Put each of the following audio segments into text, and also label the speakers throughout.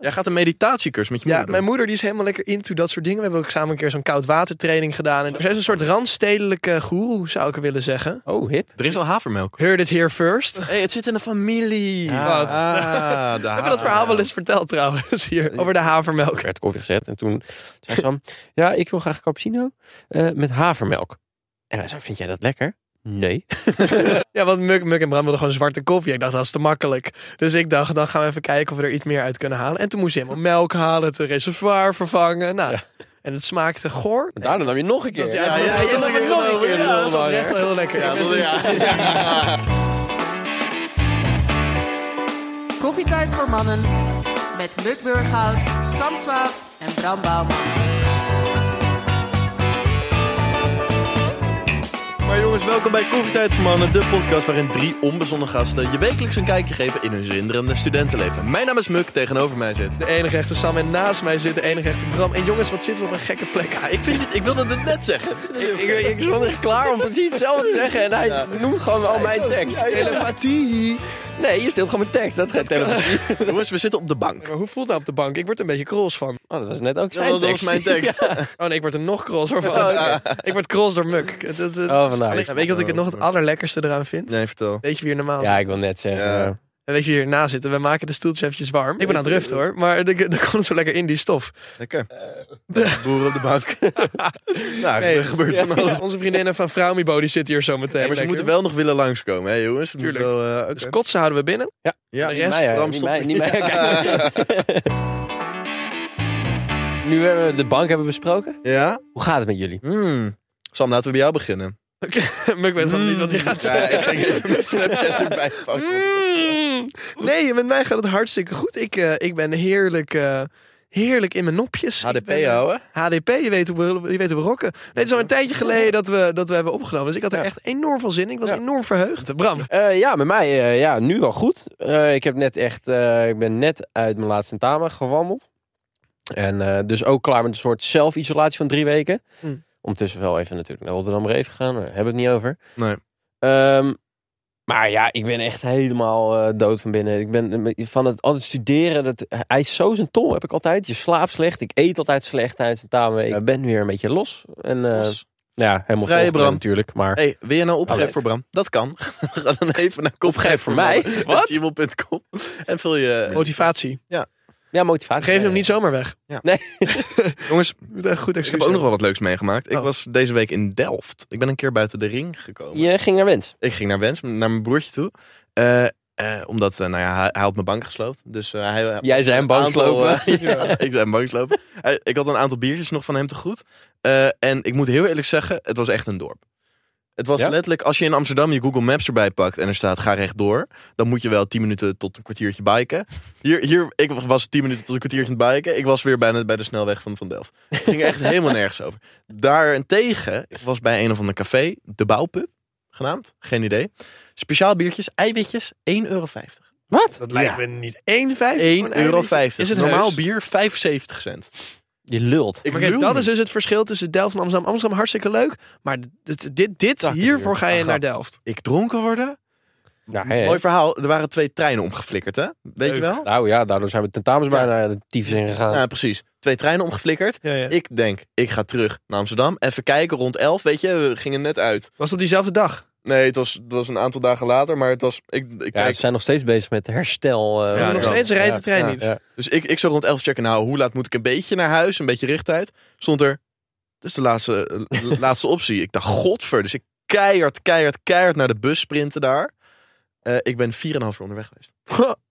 Speaker 1: Jij gaat een meditatiecursus met je
Speaker 2: Ja,
Speaker 1: moeder
Speaker 2: mijn
Speaker 1: doen.
Speaker 2: moeder die is helemaal lekker into dat soort dingen. We hebben ook samen een keer zo'n koudwatertraining gedaan. En zij is een soort randstedelijke goeroe, zou ik willen zeggen.
Speaker 3: Oh, hip.
Speaker 1: Er is al havermelk.
Speaker 2: Heard it here first.
Speaker 1: Hé, hey, het zit in de familie.
Speaker 3: Ja. Wat?
Speaker 1: Ah, de
Speaker 2: Heb je dat verhaal wel eens verteld trouwens hier? Over de havermelk.
Speaker 3: Ik werd koffie gezet en toen zei Sam, ja, ik wil graag cappuccino eh, met havermelk. En wij zeiden, vind jij dat lekker? Nee.
Speaker 2: Ja, want Muk, Muk en Bram wilden gewoon zwarte koffie. Ik dacht, dat is te makkelijk. Dus ik dacht, dan gaan we even kijken of we er iets meer uit kunnen halen. En toen moest je helemaal melk halen, het reservoir vervangen. Nou, en het smaakte goor.
Speaker 3: En daarna nam je nog een keer.
Speaker 2: Dus ja, ja, ja, ja,
Speaker 1: nog een keer,
Speaker 2: nog een
Speaker 1: nog een
Speaker 2: keer.
Speaker 1: keer,
Speaker 2: Ja, dat is
Speaker 3: lulbar,
Speaker 2: oprecht
Speaker 3: hè?
Speaker 2: wel heel lekker. Ik wist niet-
Speaker 4: Koffietijd voor mannen met Muk Burghout, Sam Swaap en Bram Bouwman.
Speaker 1: Maar jongens, welkom bij Koffietijd voor Mannen, de podcast waarin drie onbezonnen gasten je wekelijks een kijkje geven in hun zinderende studentenleven. Mijn naam is Muk, tegenover mij zit.
Speaker 2: De enige echte Sam en naast mij zit de enige echte Bram. En jongens, wat zitten we op een gekke plek.
Speaker 1: Ja, ik, vind dit, ik wilde het net zeggen.
Speaker 3: Ik, ik stond echt klaar om precies hetzelfde te zeggen en hij noemt gewoon al mijn tekst.
Speaker 2: Telepathie.
Speaker 3: Nee, hier stelt gewoon mijn tekst. Dat is geen telefoon.
Speaker 1: Jongens, we zitten op de bank.
Speaker 2: Maar hoe voelt nou op de bank? Ik word er een beetje krols van.
Speaker 3: Oh, dat was net ook zijn
Speaker 1: dat was
Speaker 3: tekst.
Speaker 1: mijn tekst.
Speaker 2: Oh nee, ik word er nog krolser van.
Speaker 1: Oh,
Speaker 2: Ik word krols door Muk. Het- het- het-
Speaker 3: Oh, vandaar.
Speaker 2: Weet je weet je wat ik het nog het allerlekkerste eraan vind?
Speaker 1: Nee, vertel.
Speaker 2: Weet je wie hier normaal
Speaker 3: Ja,
Speaker 2: zit?
Speaker 3: ik wil net zeggen.
Speaker 1: Ja.
Speaker 3: eh,
Speaker 2: En weet je wie hierna zit? En We maken de stoeltjes eventjes warm. Ik ben aan het ruften hoor, maar er er komt zo lekker in die stof.
Speaker 1: Lekker. Boer op de bank. nou,
Speaker 2: Eh. Nee.
Speaker 1: er gebeurt van alles.
Speaker 2: Onze vriendinnen van Fraumibo die zitten hier zo meteen.
Speaker 1: Ja, maar ze
Speaker 2: lekker.
Speaker 1: moeten wel nog willen langskomen, hè jongens? Het moet
Speaker 2: Tuurlijk.
Speaker 1: Wel, eh, oké.
Speaker 2: Dus kotsen houden we binnen.
Speaker 1: ja,
Speaker 2: de
Speaker 3: niet
Speaker 2: rest,
Speaker 3: mij, hè,
Speaker 1: Bram,
Speaker 3: niet
Speaker 1: stop.
Speaker 3: mij, niet mij. Nu hebben we de bank hebben besproken.
Speaker 1: Ja?
Speaker 3: Hoe gaat het met jullie?
Speaker 1: Hmm. Sam, laten we bij jou beginnen.
Speaker 2: Muk weet gewoon
Speaker 3: Mm.
Speaker 2: niet wat hij gaat
Speaker 1: Ja,
Speaker 2: zeggen.
Speaker 1: ik ging even mijn Snapchat erbij
Speaker 3: Hmm.
Speaker 1: pakken.
Speaker 2: Mm. Nee, met mij gaat het hartstikke goed. Ik, eh, ik ben heerlijk, eh, heerlijk in mijn nopjes. Ik
Speaker 1: HDP
Speaker 2: ben-
Speaker 1: houden.
Speaker 2: HDP, je weet, hoe we, je weet hoe we rocken. Nee, het is al een tijdje geleden dat we, dat we hebben opgenomen. Dus ik had er
Speaker 3: Ja.
Speaker 2: echt enorm veel zin in. Ik was
Speaker 3: Ja.
Speaker 2: enorm verheugd. Bram,
Speaker 3: Eh, ja, met mij eh, ja, nu al goed. Eh, ik, heb net echt, eh, ik ben net uit mijn laatste tentamen gewandeld. En eh, dus ook klaar met een soort zelfisolatie van drie weken.
Speaker 2: Hm.
Speaker 3: Ondertussen wel even natuurlijk naar Rotterdam Reef gegaan. Daar hebben we het niet over.
Speaker 1: Nee.
Speaker 3: Ehm, maar ja, ik ben echt helemaal eh, dood van binnen. Ik ben eh, van het altijd studeren. Dat eist zo zijn tol heb ik altijd. Je slaapt slecht. Ik eet altijd slecht tijdens een tamen. Ik ben weer een beetje los. En eh,
Speaker 2: Los.
Speaker 3: ja, helemaal
Speaker 1: Vrije
Speaker 3: volgebrand
Speaker 1: Bram.
Speaker 3: natuurlijk. Maar
Speaker 1: Hey, wil je nou opgeven
Speaker 3: Oh, leuk.
Speaker 1: voor Bram? Dat kan. Ga dan even naar
Speaker 3: Opgeven voor mij? Wat?
Speaker 1: gmail.com en vul je...
Speaker 2: motivatie.
Speaker 3: ja, motivatie. Eh,
Speaker 2: Geef hem niet zomaar weg.
Speaker 1: Jongens,
Speaker 2: Goed, eh, Goed
Speaker 1: ik
Speaker 2: excuus.
Speaker 1: heb ook nog wel wat leuks meegemaakt. Ik
Speaker 2: Oh.
Speaker 1: was deze week in Delft. Ik ben een keer buiten de ring gekomen.
Speaker 3: Je ging naar Wens.
Speaker 1: Ik ging naar Wens, naar mijn broertje toe. Eh, eh, omdat, eh, nou ja, hij, hij had mijn bank gesloopt. Dus eh, hij...
Speaker 3: Jij zei een bank
Speaker 1: aantal,
Speaker 3: lopen.
Speaker 1: eh, ja, ik zei een bank slopen. Eh, ik had een aantal biertjes nog van hem te goed. Eh, en ik moet heel eerlijk zeggen, het was echt een dorp. Het was
Speaker 3: Ja?
Speaker 1: letterlijk, als je in Amsterdam je Google Maps erbij pakt en er staat ga rechtdoor, dan moet je wel 10 minuten tot een kwartiertje biken. Hier, hier ik was 10 minuten tot een kwartiertje aan het biken. Ik was weer bijna bij de snelweg van, van Delft. Het ging echt helemaal nergens over. Daarentegen, ik was bij een of ander café, de Bouwpub, genaamd, geen idee. Speciaal biertjes, eiwitjes, 1,50 euro.
Speaker 3: Wat?
Speaker 2: Dat lijkt me niet. 1,50
Speaker 1: 1,50 euro.
Speaker 2: Is het
Speaker 1: Normaal
Speaker 2: heus?
Speaker 1: bier 75 cent.
Speaker 3: Je lult.
Speaker 1: Ik
Speaker 2: Maar kijk,
Speaker 1: lul
Speaker 2: dat
Speaker 1: niet.
Speaker 2: is dus het verschil tussen Delft en Amsterdam. Amsterdam hartstikke leuk, maar dit, dit, dit
Speaker 3: Takken
Speaker 2: hiervoor
Speaker 3: duur.
Speaker 2: ga je
Speaker 3: Ah,
Speaker 2: naar Delft.
Speaker 1: ik dronken worden?
Speaker 3: Ja, hè, hè.
Speaker 1: Mooi verhaal. Er waren twee treinen omgeflikkerd, hè? Weet je
Speaker 2: Leuk.
Speaker 1: wel?
Speaker 3: Nou ja, daardoor zijn we tentamens
Speaker 1: Ja.
Speaker 3: bijna de tyfus in gegaan.
Speaker 1: Ja, precies. Twee treinen omgeflikkerd. Ik denk, ik ga terug naar Amsterdam. Even kijken, rond 11, weet je, we gingen net uit.
Speaker 2: Was dat diezelfde dag?
Speaker 1: Nee, het was, het was een aantal dagen later, maar het was... Ik, ik
Speaker 3: Ja,
Speaker 1: kijk,
Speaker 3: ze zijn nog steeds bezig met herstel. eh,
Speaker 1: Ja,
Speaker 2: Ja,
Speaker 3: van
Speaker 2: nog
Speaker 1: dat-
Speaker 2: steeds rijdt de trein
Speaker 1: ja,
Speaker 2: niet.
Speaker 3: ja.
Speaker 1: Dus ik, ik zou rond 11 checken, nou, hoe laat moet ik een beetje naar huis? Een beetje richttijd. Stond er, dat is de laatste, eh, la- laatste optie. Ik dacht, godver. Dus ik keihard, keihard, keihard naar de bus sprinten daar. Eh, ik ben 4,5 uur onderweg geweest.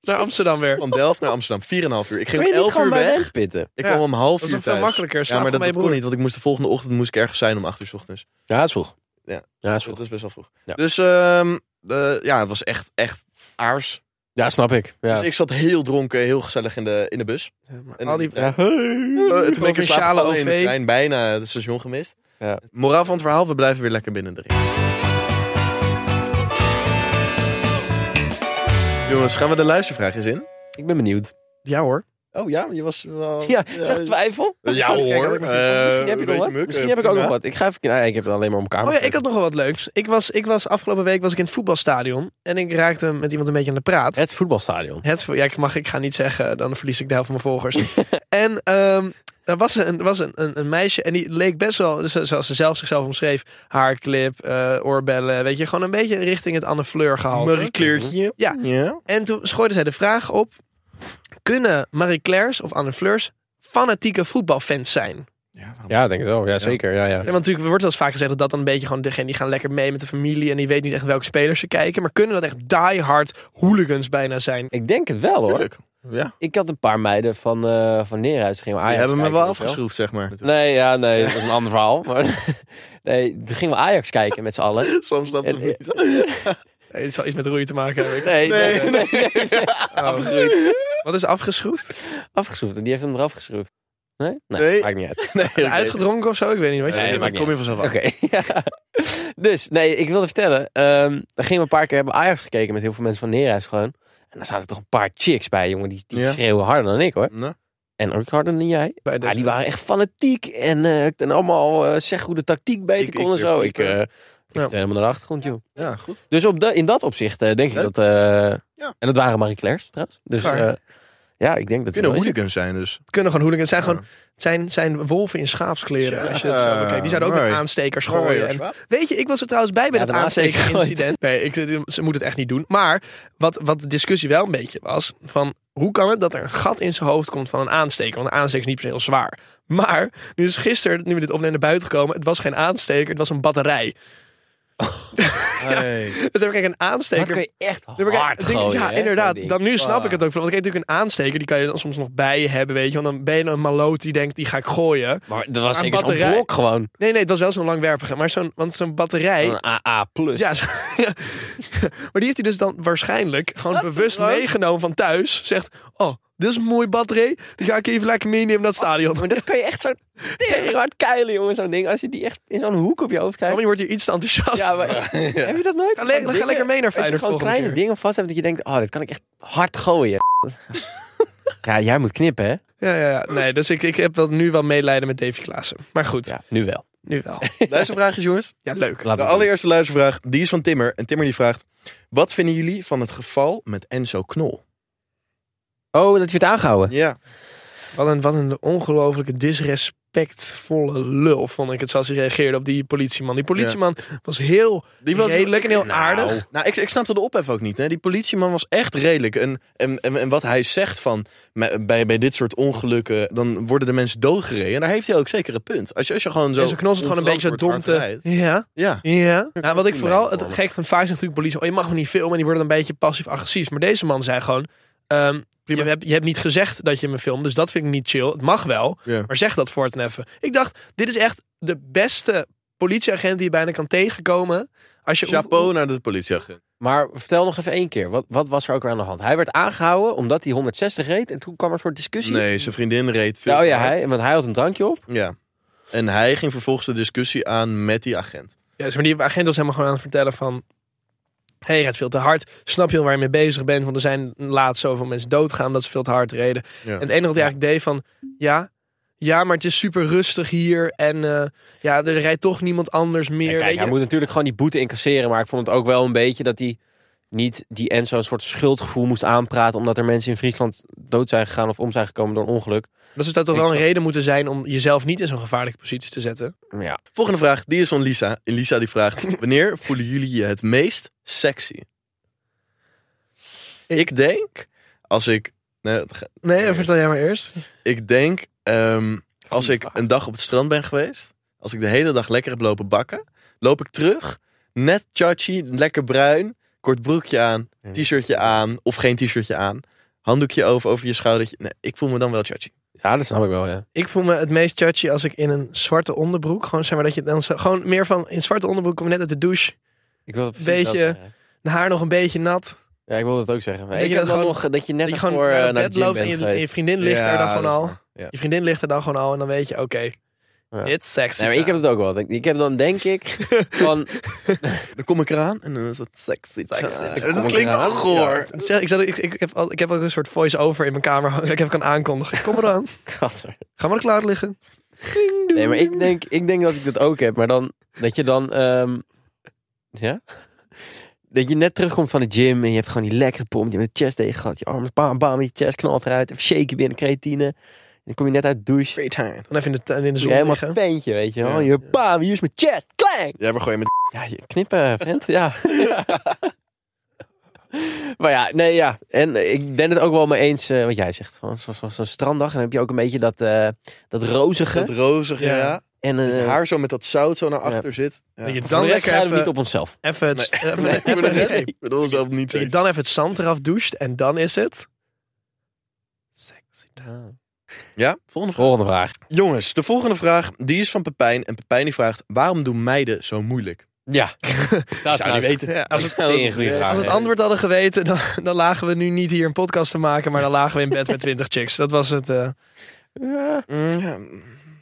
Speaker 2: naar Amsterdam weer.
Speaker 1: Van Delft naar Amsterdam, 4,5 uur. Ik ging
Speaker 3: Kun je
Speaker 1: om
Speaker 3: niet
Speaker 1: 11
Speaker 3: gewoon
Speaker 1: uur
Speaker 3: bij
Speaker 1: weg.
Speaker 3: Wens pitten?
Speaker 1: Ik
Speaker 2: Ja,
Speaker 1: kwam om half
Speaker 2: Dat
Speaker 1: uur
Speaker 2: is toch veel
Speaker 1: thuis.
Speaker 2: makkelijker.
Speaker 1: Ja, maar dat, dat kon
Speaker 2: kon
Speaker 1: niet, want ik moest de volgende ochtend moest ik ergens zijn om 8 uur 's ochtends.
Speaker 3: Ja, dat is vroeg.
Speaker 1: Ja.
Speaker 3: ja, dat
Speaker 1: Dat
Speaker 3: is vroeg.
Speaker 1: is best wel vroeg.
Speaker 3: Ja.
Speaker 1: Dus ehm, eh, ja, het was echt, echt aars.
Speaker 3: Ja, snap ik. Ja.
Speaker 1: Dus ik zat heel dronken, heel gezellig in de, in de bus. En,
Speaker 2: al die Oh,
Speaker 1: ja, eh, toen ben ik in slaap
Speaker 2: provinciale
Speaker 1: gevallen in de
Speaker 2: OV.
Speaker 1: trein, bijna het station gemist.
Speaker 3: Ja.
Speaker 1: Moraal van het verhaal, we blijven weer lekker binnen erin. Jongens, gaan we de luistervraag eens in?
Speaker 3: Ik ben benieuwd.
Speaker 2: Ja hoor.
Speaker 1: Oh ja, maar je was wel...
Speaker 3: Ja, zeg twijfel.
Speaker 1: Ja hoor. eh,
Speaker 3: Misschien heb je nog
Speaker 1: beetje
Speaker 3: wat.
Speaker 1: muk,
Speaker 3: Misschien
Speaker 1: eh,
Speaker 3: heb ik ook nog
Speaker 1: prima.
Speaker 3: wat. Ik ga even... Nee, ik heb het alleen maar om kamer.
Speaker 2: Oh ja, ik had nog wel wat leuks. Ik was, ik was afgelopen week was ik in het voetbalstadion. En ik raakte met iemand een beetje aan de praat.
Speaker 3: Het voetbalstadion.
Speaker 2: Het, ja, ik mag, ik ga niet zeggen, dan verlies ik de helft van mijn volgers. en ehm er was, een, er was een, een, een meisje en die leek best wel, zo- zoals ze zelf zichzelf omschreef, haarclip, eh, oorbellen, weet je, gewoon een beetje richting het Anne Fleur gehaald.
Speaker 1: Marie Kleurtje.
Speaker 2: Ja.
Speaker 1: ja.
Speaker 2: En toen gooide zij de vraag op, kunnen Marie Claire's of Anne Fleurs fanatieke voetbalfans zijn?
Speaker 3: Ja, ik denk het wel. Ja, zeker. Ja, ja.
Speaker 2: Ja, want natuurlijk wordt wel eens vaak gezegd dat dat dan een beetje gewoon degene die gaan lekker mee met de familie en die weet niet echt welke spelers ze kijken, maar kunnen dat echt diehard hooligans bijna zijn?
Speaker 3: Ik denk het wel, hoor.
Speaker 1: Tuurlijk. Ja.
Speaker 3: Ik had een paar meiden van, eh van Neerhuis. Gingen we
Speaker 1: Die
Speaker 3: Ajax
Speaker 1: hebben me
Speaker 3: kijken,
Speaker 1: wel
Speaker 3: weet je
Speaker 1: afgeschroefd, zeg maar.
Speaker 3: Nee, ja, nee. Dat is een ander verhaal. Maar, nee, toen gingen we Ajax kijken met z'n allen.
Speaker 1: Soms dat
Speaker 3: En-
Speaker 1: niet.
Speaker 2: Eh, Het zal iets met roeien te maken hebben. Ik-
Speaker 3: Nee, nee, nee.
Speaker 2: Oh. Wat is afgeschroefd?
Speaker 3: Afgeschroefd. Die heeft hem eraf geschroefd. Nee? Nee,
Speaker 1: Nee.
Speaker 3: maakt niet uit.
Speaker 1: Nee, oké.
Speaker 2: Uitgedronken of zo? Ik weet niet. Wat je
Speaker 3: Nee,
Speaker 1: Nee, maar
Speaker 3: maakt niet
Speaker 1: kom je vanzelf
Speaker 3: Oké.
Speaker 1: af.
Speaker 3: ja. Dus, nee, ik wilde vertellen. ehm we gingen een paar keer hebben we Ajax gekeken met heel veel mensen van Neerhuis gewoon. En daar zaten toch een paar chicks bij, jongen. Die, die
Speaker 1: Ja.
Speaker 3: schreeuwen harder dan ik, hoor.
Speaker 1: Nou,
Speaker 3: En ook harder dan jij.
Speaker 2: bij
Speaker 3: Ja,
Speaker 2: deze-
Speaker 3: Ah, die waren echt fanatiek en, eh, en allemaal eh, zeg hoe de tactiek beter
Speaker 1: Ik-
Speaker 3: kon en
Speaker 1: ik-
Speaker 3: zo. Ik,
Speaker 1: ik-
Speaker 3: eh ik
Speaker 2: Ja.
Speaker 3: zit helemaal naar de achtergrond, joh.
Speaker 1: Ja, goed.
Speaker 3: Dus op de, in dat opzicht eh, denk ik
Speaker 1: Leuk.
Speaker 3: dat... eh, En dat waren Marie Claire's trouwens. Dus
Speaker 2: Waar?
Speaker 3: eh, ja, ik denk dat...
Speaker 1: Kunnen
Speaker 3: wel is.
Speaker 1: hooligans zijn dus.
Speaker 2: Het kunnen gewoon hooligans. Het zijn
Speaker 1: Ja.
Speaker 2: gewoon het zijn, het zijn wolven in schaapskleren.
Speaker 1: Ja,
Speaker 2: Als je het zo bekijkt. Die zouden ook
Speaker 1: mooi.
Speaker 2: met aanstekers gooien. En, weet je, ik was er trouwens bij bij
Speaker 3: Ja,
Speaker 2: dat
Speaker 3: de aansteker
Speaker 2: aanstekerincident. Nee, ik, ze moeten het echt niet doen. Maar wat, wat de discussie wel een beetje was. Van hoe kan het dat er een gat in zijn hoofd komt van een aansteker? Want een aansteker is niet per se heel zwaar. Maar nu is gisteren, nu we dit opnemen, naar buiten gekomen. Het was geen aansteker, het was een batterij.
Speaker 1: Hey.
Speaker 2: Dus heb ik een
Speaker 3: Dat
Speaker 2: aansteker
Speaker 3: kun je echt
Speaker 2: Ja, maar kijk,
Speaker 3: hard
Speaker 2: het ding-
Speaker 3: gooien,
Speaker 2: ja,
Speaker 3: hè, zo'n
Speaker 2: inderdaad.
Speaker 3: ding.
Speaker 2: Dan nu snap
Speaker 3: Ah.
Speaker 2: ik het ook. wel, Want ik heb natuurlijk een aansteker, die kan je dan soms nog bij je hebben, weet je. Want dan ben je een maloot die denkt, die ga ik gooien.
Speaker 3: Maar dat was
Speaker 2: Aan
Speaker 3: zeker zo'n
Speaker 2: batterij.
Speaker 3: blok gewoon.
Speaker 2: Nee, nee, het was wel zo'n langwerpige. Maar zo'n, want zo'n
Speaker 1: Oh,
Speaker 2: batterij...
Speaker 1: nou,
Speaker 3: Een AA+.
Speaker 1: dus-
Speaker 3: Plus.
Speaker 2: Ja, zo- ja. maar die heeft hij dus dan waarschijnlijk gewoon
Speaker 3: Dat is
Speaker 2: bewust
Speaker 3: groot.
Speaker 2: meegenomen van thuis. Zegt, oh, dit is een mooie batterij. Die ga ik even lekker meenemen naar het stadion. Oh,
Speaker 3: Maar dat kun je echt zo tering hard keilen, jongen, zo'n ding. Als je die echt in zo'n hoek op je hoofd
Speaker 2: Oh,
Speaker 3: krijgt.
Speaker 2: je wordt hier iets te enthousiast.
Speaker 3: Ja, maar, Heb je dat nooit?
Speaker 2: Ga, le- ga
Speaker 3: Van dingen-
Speaker 2: lekker mee naar
Speaker 3: Als
Speaker 2: Feyenoord
Speaker 3: je gewoon
Speaker 2: volgende
Speaker 3: kleine
Speaker 2: keer.
Speaker 3: dingen vast hebt dat je denkt, oh, dit kan ik echt hard gooien. ja, jij moet knippen, hè?
Speaker 2: Ja, ja, ja. Nee, dus ik, ik heb wel, nu wel medelijden met Davy Klaassen. Maar goed,
Speaker 3: Ja, nu wel.
Speaker 2: nu wel.
Speaker 1: Luistervraagjes, jongens.
Speaker 2: Ja, leuk.
Speaker 3: Laten
Speaker 1: De
Speaker 3: we het
Speaker 1: allereerste luistervraag, die is van Timmer. En Timmer die vraagt, wat vinden jullie van het geval met Enzo Knol?
Speaker 3: doen. Oh, dat je het aangehouden.
Speaker 1: Ja.
Speaker 2: Wat een, wat een ongelofelijke disrespectvolle lul, vond ik het zoals hij reageerde op die politieman. Die politieman was heel
Speaker 1: Die
Speaker 2: redelijk en heel
Speaker 3: Nou.
Speaker 2: aardig.
Speaker 1: Nou, ik, ik snapte de ophef ook niet. Hè? Die politieman was echt redelijk. En, en, en, en wat hij zegt van me- bij, bij dit soort ongelukken, dan worden de mensen doodgereden. En daar heeft hij ook zeker een punt. Als je, als je gewoon zo.
Speaker 2: en zo knol het gewoon een beetje dom
Speaker 1: onverantwoord hard
Speaker 2: te...
Speaker 1: rijdt.
Speaker 2: Ja,
Speaker 1: Ja.
Speaker 2: ja. Nou, wat ik
Speaker 3: Nee,
Speaker 2: vooral... Het
Speaker 3: hoor.
Speaker 2: gek van vaak is natuurlijk politie, oh, je mag me niet filmen. En die worden dan een beetje passief-agressief. Maar deze man zei gewoon... ehm, je, hebt, je hebt niet gezegd dat je me filmt, dus dat vind ik niet chill. Het mag wel,
Speaker 1: Ja.
Speaker 2: maar zeg dat voortaan even. Ik dacht, dit is echt de beste politieagent die je bijna kan tegenkomen. Als je,
Speaker 1: Chapeau naar de politieagent.
Speaker 3: Maar vertel nog even één keer, wat, wat was er ook weer aan de hand? Hij werd aangehouden omdat hij 160 reed en toen kwam er een soort discussie.
Speaker 1: Nee, zijn vriendin reed veel.
Speaker 3: Ja, oh
Speaker 1: te
Speaker 3: ja,
Speaker 1: hard.
Speaker 3: hij, want hij had een drankje op.
Speaker 1: Ja. En hij ging vervolgens de discussie aan met die agent.
Speaker 2: Ja, dus maar die agent was helemaal gewoon aan het vertellen van... Hé, hey, je rijdt veel te hard. Snap je wel waar je mee bezig bent? Want er zijn laatst zoveel mensen doodgaan omdat ze veel te hard reden.
Speaker 1: Ja.
Speaker 2: En het enige wat hij eigenlijk deed van... Ja, ja, maar het is super rustig hier. En eh, ja, er rijdt toch niemand anders meer.
Speaker 3: Ja, kijk,
Speaker 2: weet
Speaker 3: hij
Speaker 2: je?
Speaker 3: moet natuurlijk gewoon die boete incasseren. Maar ik vond het ook wel een beetje dat hij niet die Enzo een soort schuldgevoel moest aanpraten. Omdat er mensen in Friesland dood zijn gegaan of om zijn gekomen door een ongeluk.
Speaker 2: Dus Dat zou toch
Speaker 3: Ik
Speaker 2: wel een
Speaker 3: snap-
Speaker 2: reden moeten zijn om jezelf niet in zo'n gevaarlijke positie te zetten.
Speaker 3: Ja,
Speaker 1: Volgende vraag, die is van Lisa. En Lisa die vraagt, wanneer voelen jullie je het meest sexy? Ik denk, als ik... Nee, het ga-
Speaker 2: Nee,
Speaker 1: Eerst.
Speaker 2: vertel jij maar eerst.
Speaker 1: ik denk, ehm, als ik
Speaker 3: vraag.
Speaker 1: een dag op het strand ben geweest... Als ik de hele dag lekker heb lopen bakken... Loop ik terug, net chachi, lekker bruin... Kort broekje aan,
Speaker 3: Hmm.
Speaker 1: t-shirtje aan... Of geen t-shirtje aan... Handdoekje over, over je schoudertje. Nee, ik voel me dan wel chachi.
Speaker 3: ja dat snap ik wel, ja.
Speaker 2: Ik voel me het meest judgy als ik in een zwarte onderbroek... Gewoon, zeg maar, dat je dan zo, gewoon meer van... In zwarte onderbroek kom je net uit de douche.
Speaker 3: Ik wil precies
Speaker 2: Beetje-
Speaker 3: dat zeggen.
Speaker 2: De haar nog een beetje nat.
Speaker 3: Ja, ik wilde het ook zeggen. Maar
Speaker 2: Dat
Speaker 3: ik
Speaker 2: je
Speaker 3: heb
Speaker 2: dat
Speaker 3: wel
Speaker 2: gewoon-
Speaker 3: nog dat je net
Speaker 2: dat je
Speaker 3: voor
Speaker 2: gewoon eh, naar,
Speaker 3: naar,
Speaker 2: bed
Speaker 3: de gym
Speaker 2: loopt en
Speaker 3: bent
Speaker 2: je, en je
Speaker 3: geweest.
Speaker 2: vriendin ligt er dan
Speaker 1: Ja,
Speaker 2: gewoon
Speaker 1: dat is
Speaker 2: al.
Speaker 1: waar. Ja.
Speaker 2: Je vriendin ligt er dan gewoon al en dan weet je, oké,
Speaker 3: Ja.
Speaker 2: It's sexy.
Speaker 3: Nee, maar ik heb het ook wel. Ik heb dan denk ik van...
Speaker 1: Dan kom ik eraan en dan is dat sexy.
Speaker 3: Sexy.
Speaker 1: time.
Speaker 3: Dan kom
Speaker 1: Dat
Speaker 3: ik
Speaker 1: klinkt
Speaker 3: eraan.
Speaker 1: ook goor.
Speaker 2: Het is echt- ik, zat- ik, ik, heb al, ik heb ook een soort voice-over in mijn kamer hangen. dat Ik even kan aankondigen. Kom eraan.
Speaker 3: Gadver.
Speaker 2: Ga maar klaar liggen. Ding,
Speaker 3: Nee, maar
Speaker 2: doing.
Speaker 3: ik denk, ik denk dat ik dat ook heb. Maar dan, dat je dan, ehm, ja? Dat je net terugkomt van de gym en je hebt gewoon die lekkere pomp. Je hebt een chest day gehad. Je armen, bam, bam, je chest knalt eruit. Even shaken binnen, creatine. En dan kom je net uit de douche.
Speaker 1: Great time.
Speaker 2: Dan even in de, tuin in de
Speaker 3: Doe
Speaker 2: zon
Speaker 3: je helemaal
Speaker 2: liggen.
Speaker 3: ventje, weet je wel.
Speaker 1: Ja.
Speaker 3: Hier, bam, hier is mijn chest. Klang!
Speaker 1: Jij begon je met
Speaker 3: Ja, je knippen, vent. Ja. maar ja, nee, ja. En ik ben het ook wel mee eens eh, wat jij zegt. Gewoon zo- zo- zo'n stranddag. En dan heb je ook een beetje dat, eh, dat rozige.
Speaker 1: dat rozige,
Speaker 2: Ja.
Speaker 1: ja.
Speaker 3: en
Speaker 1: Dat je
Speaker 3: eh,
Speaker 1: haar zo met dat zout zo naar achter zit. Ja.
Speaker 2: Dat je
Speaker 3: voor
Speaker 2: dan
Speaker 3: de rest
Speaker 2: lekker
Speaker 3: gaan we
Speaker 2: even,
Speaker 3: niet op onszelf.
Speaker 2: even, het,
Speaker 1: Nee.
Speaker 2: even,
Speaker 1: Nee, ik bedoel het
Speaker 2: even, het-
Speaker 1: niet. Ik bedoel zelf niet
Speaker 2: dat je
Speaker 1: zo.
Speaker 2: dan even het zand eraf doucht. En dan is het... Sexy time.
Speaker 1: Ja, volgende vraag.
Speaker 3: Volgende vraag.
Speaker 1: Jongens, de volgende vraag die is van Pepijn. En Pepijn die vraagt, waarom doen meiden zo moeilijk?
Speaker 3: Ja. dat
Speaker 1: zou niet weten.
Speaker 2: Ja, als, het,
Speaker 1: Dat is
Speaker 3: een goede
Speaker 1: eh,
Speaker 3: vraag.
Speaker 2: als we het antwoord hadden geweten, dan, dan lagen we nu niet hier een podcast te maken. Maar dan lagen we in bed met 20 chicks. Dat was het. eh.
Speaker 1: Mm, ja,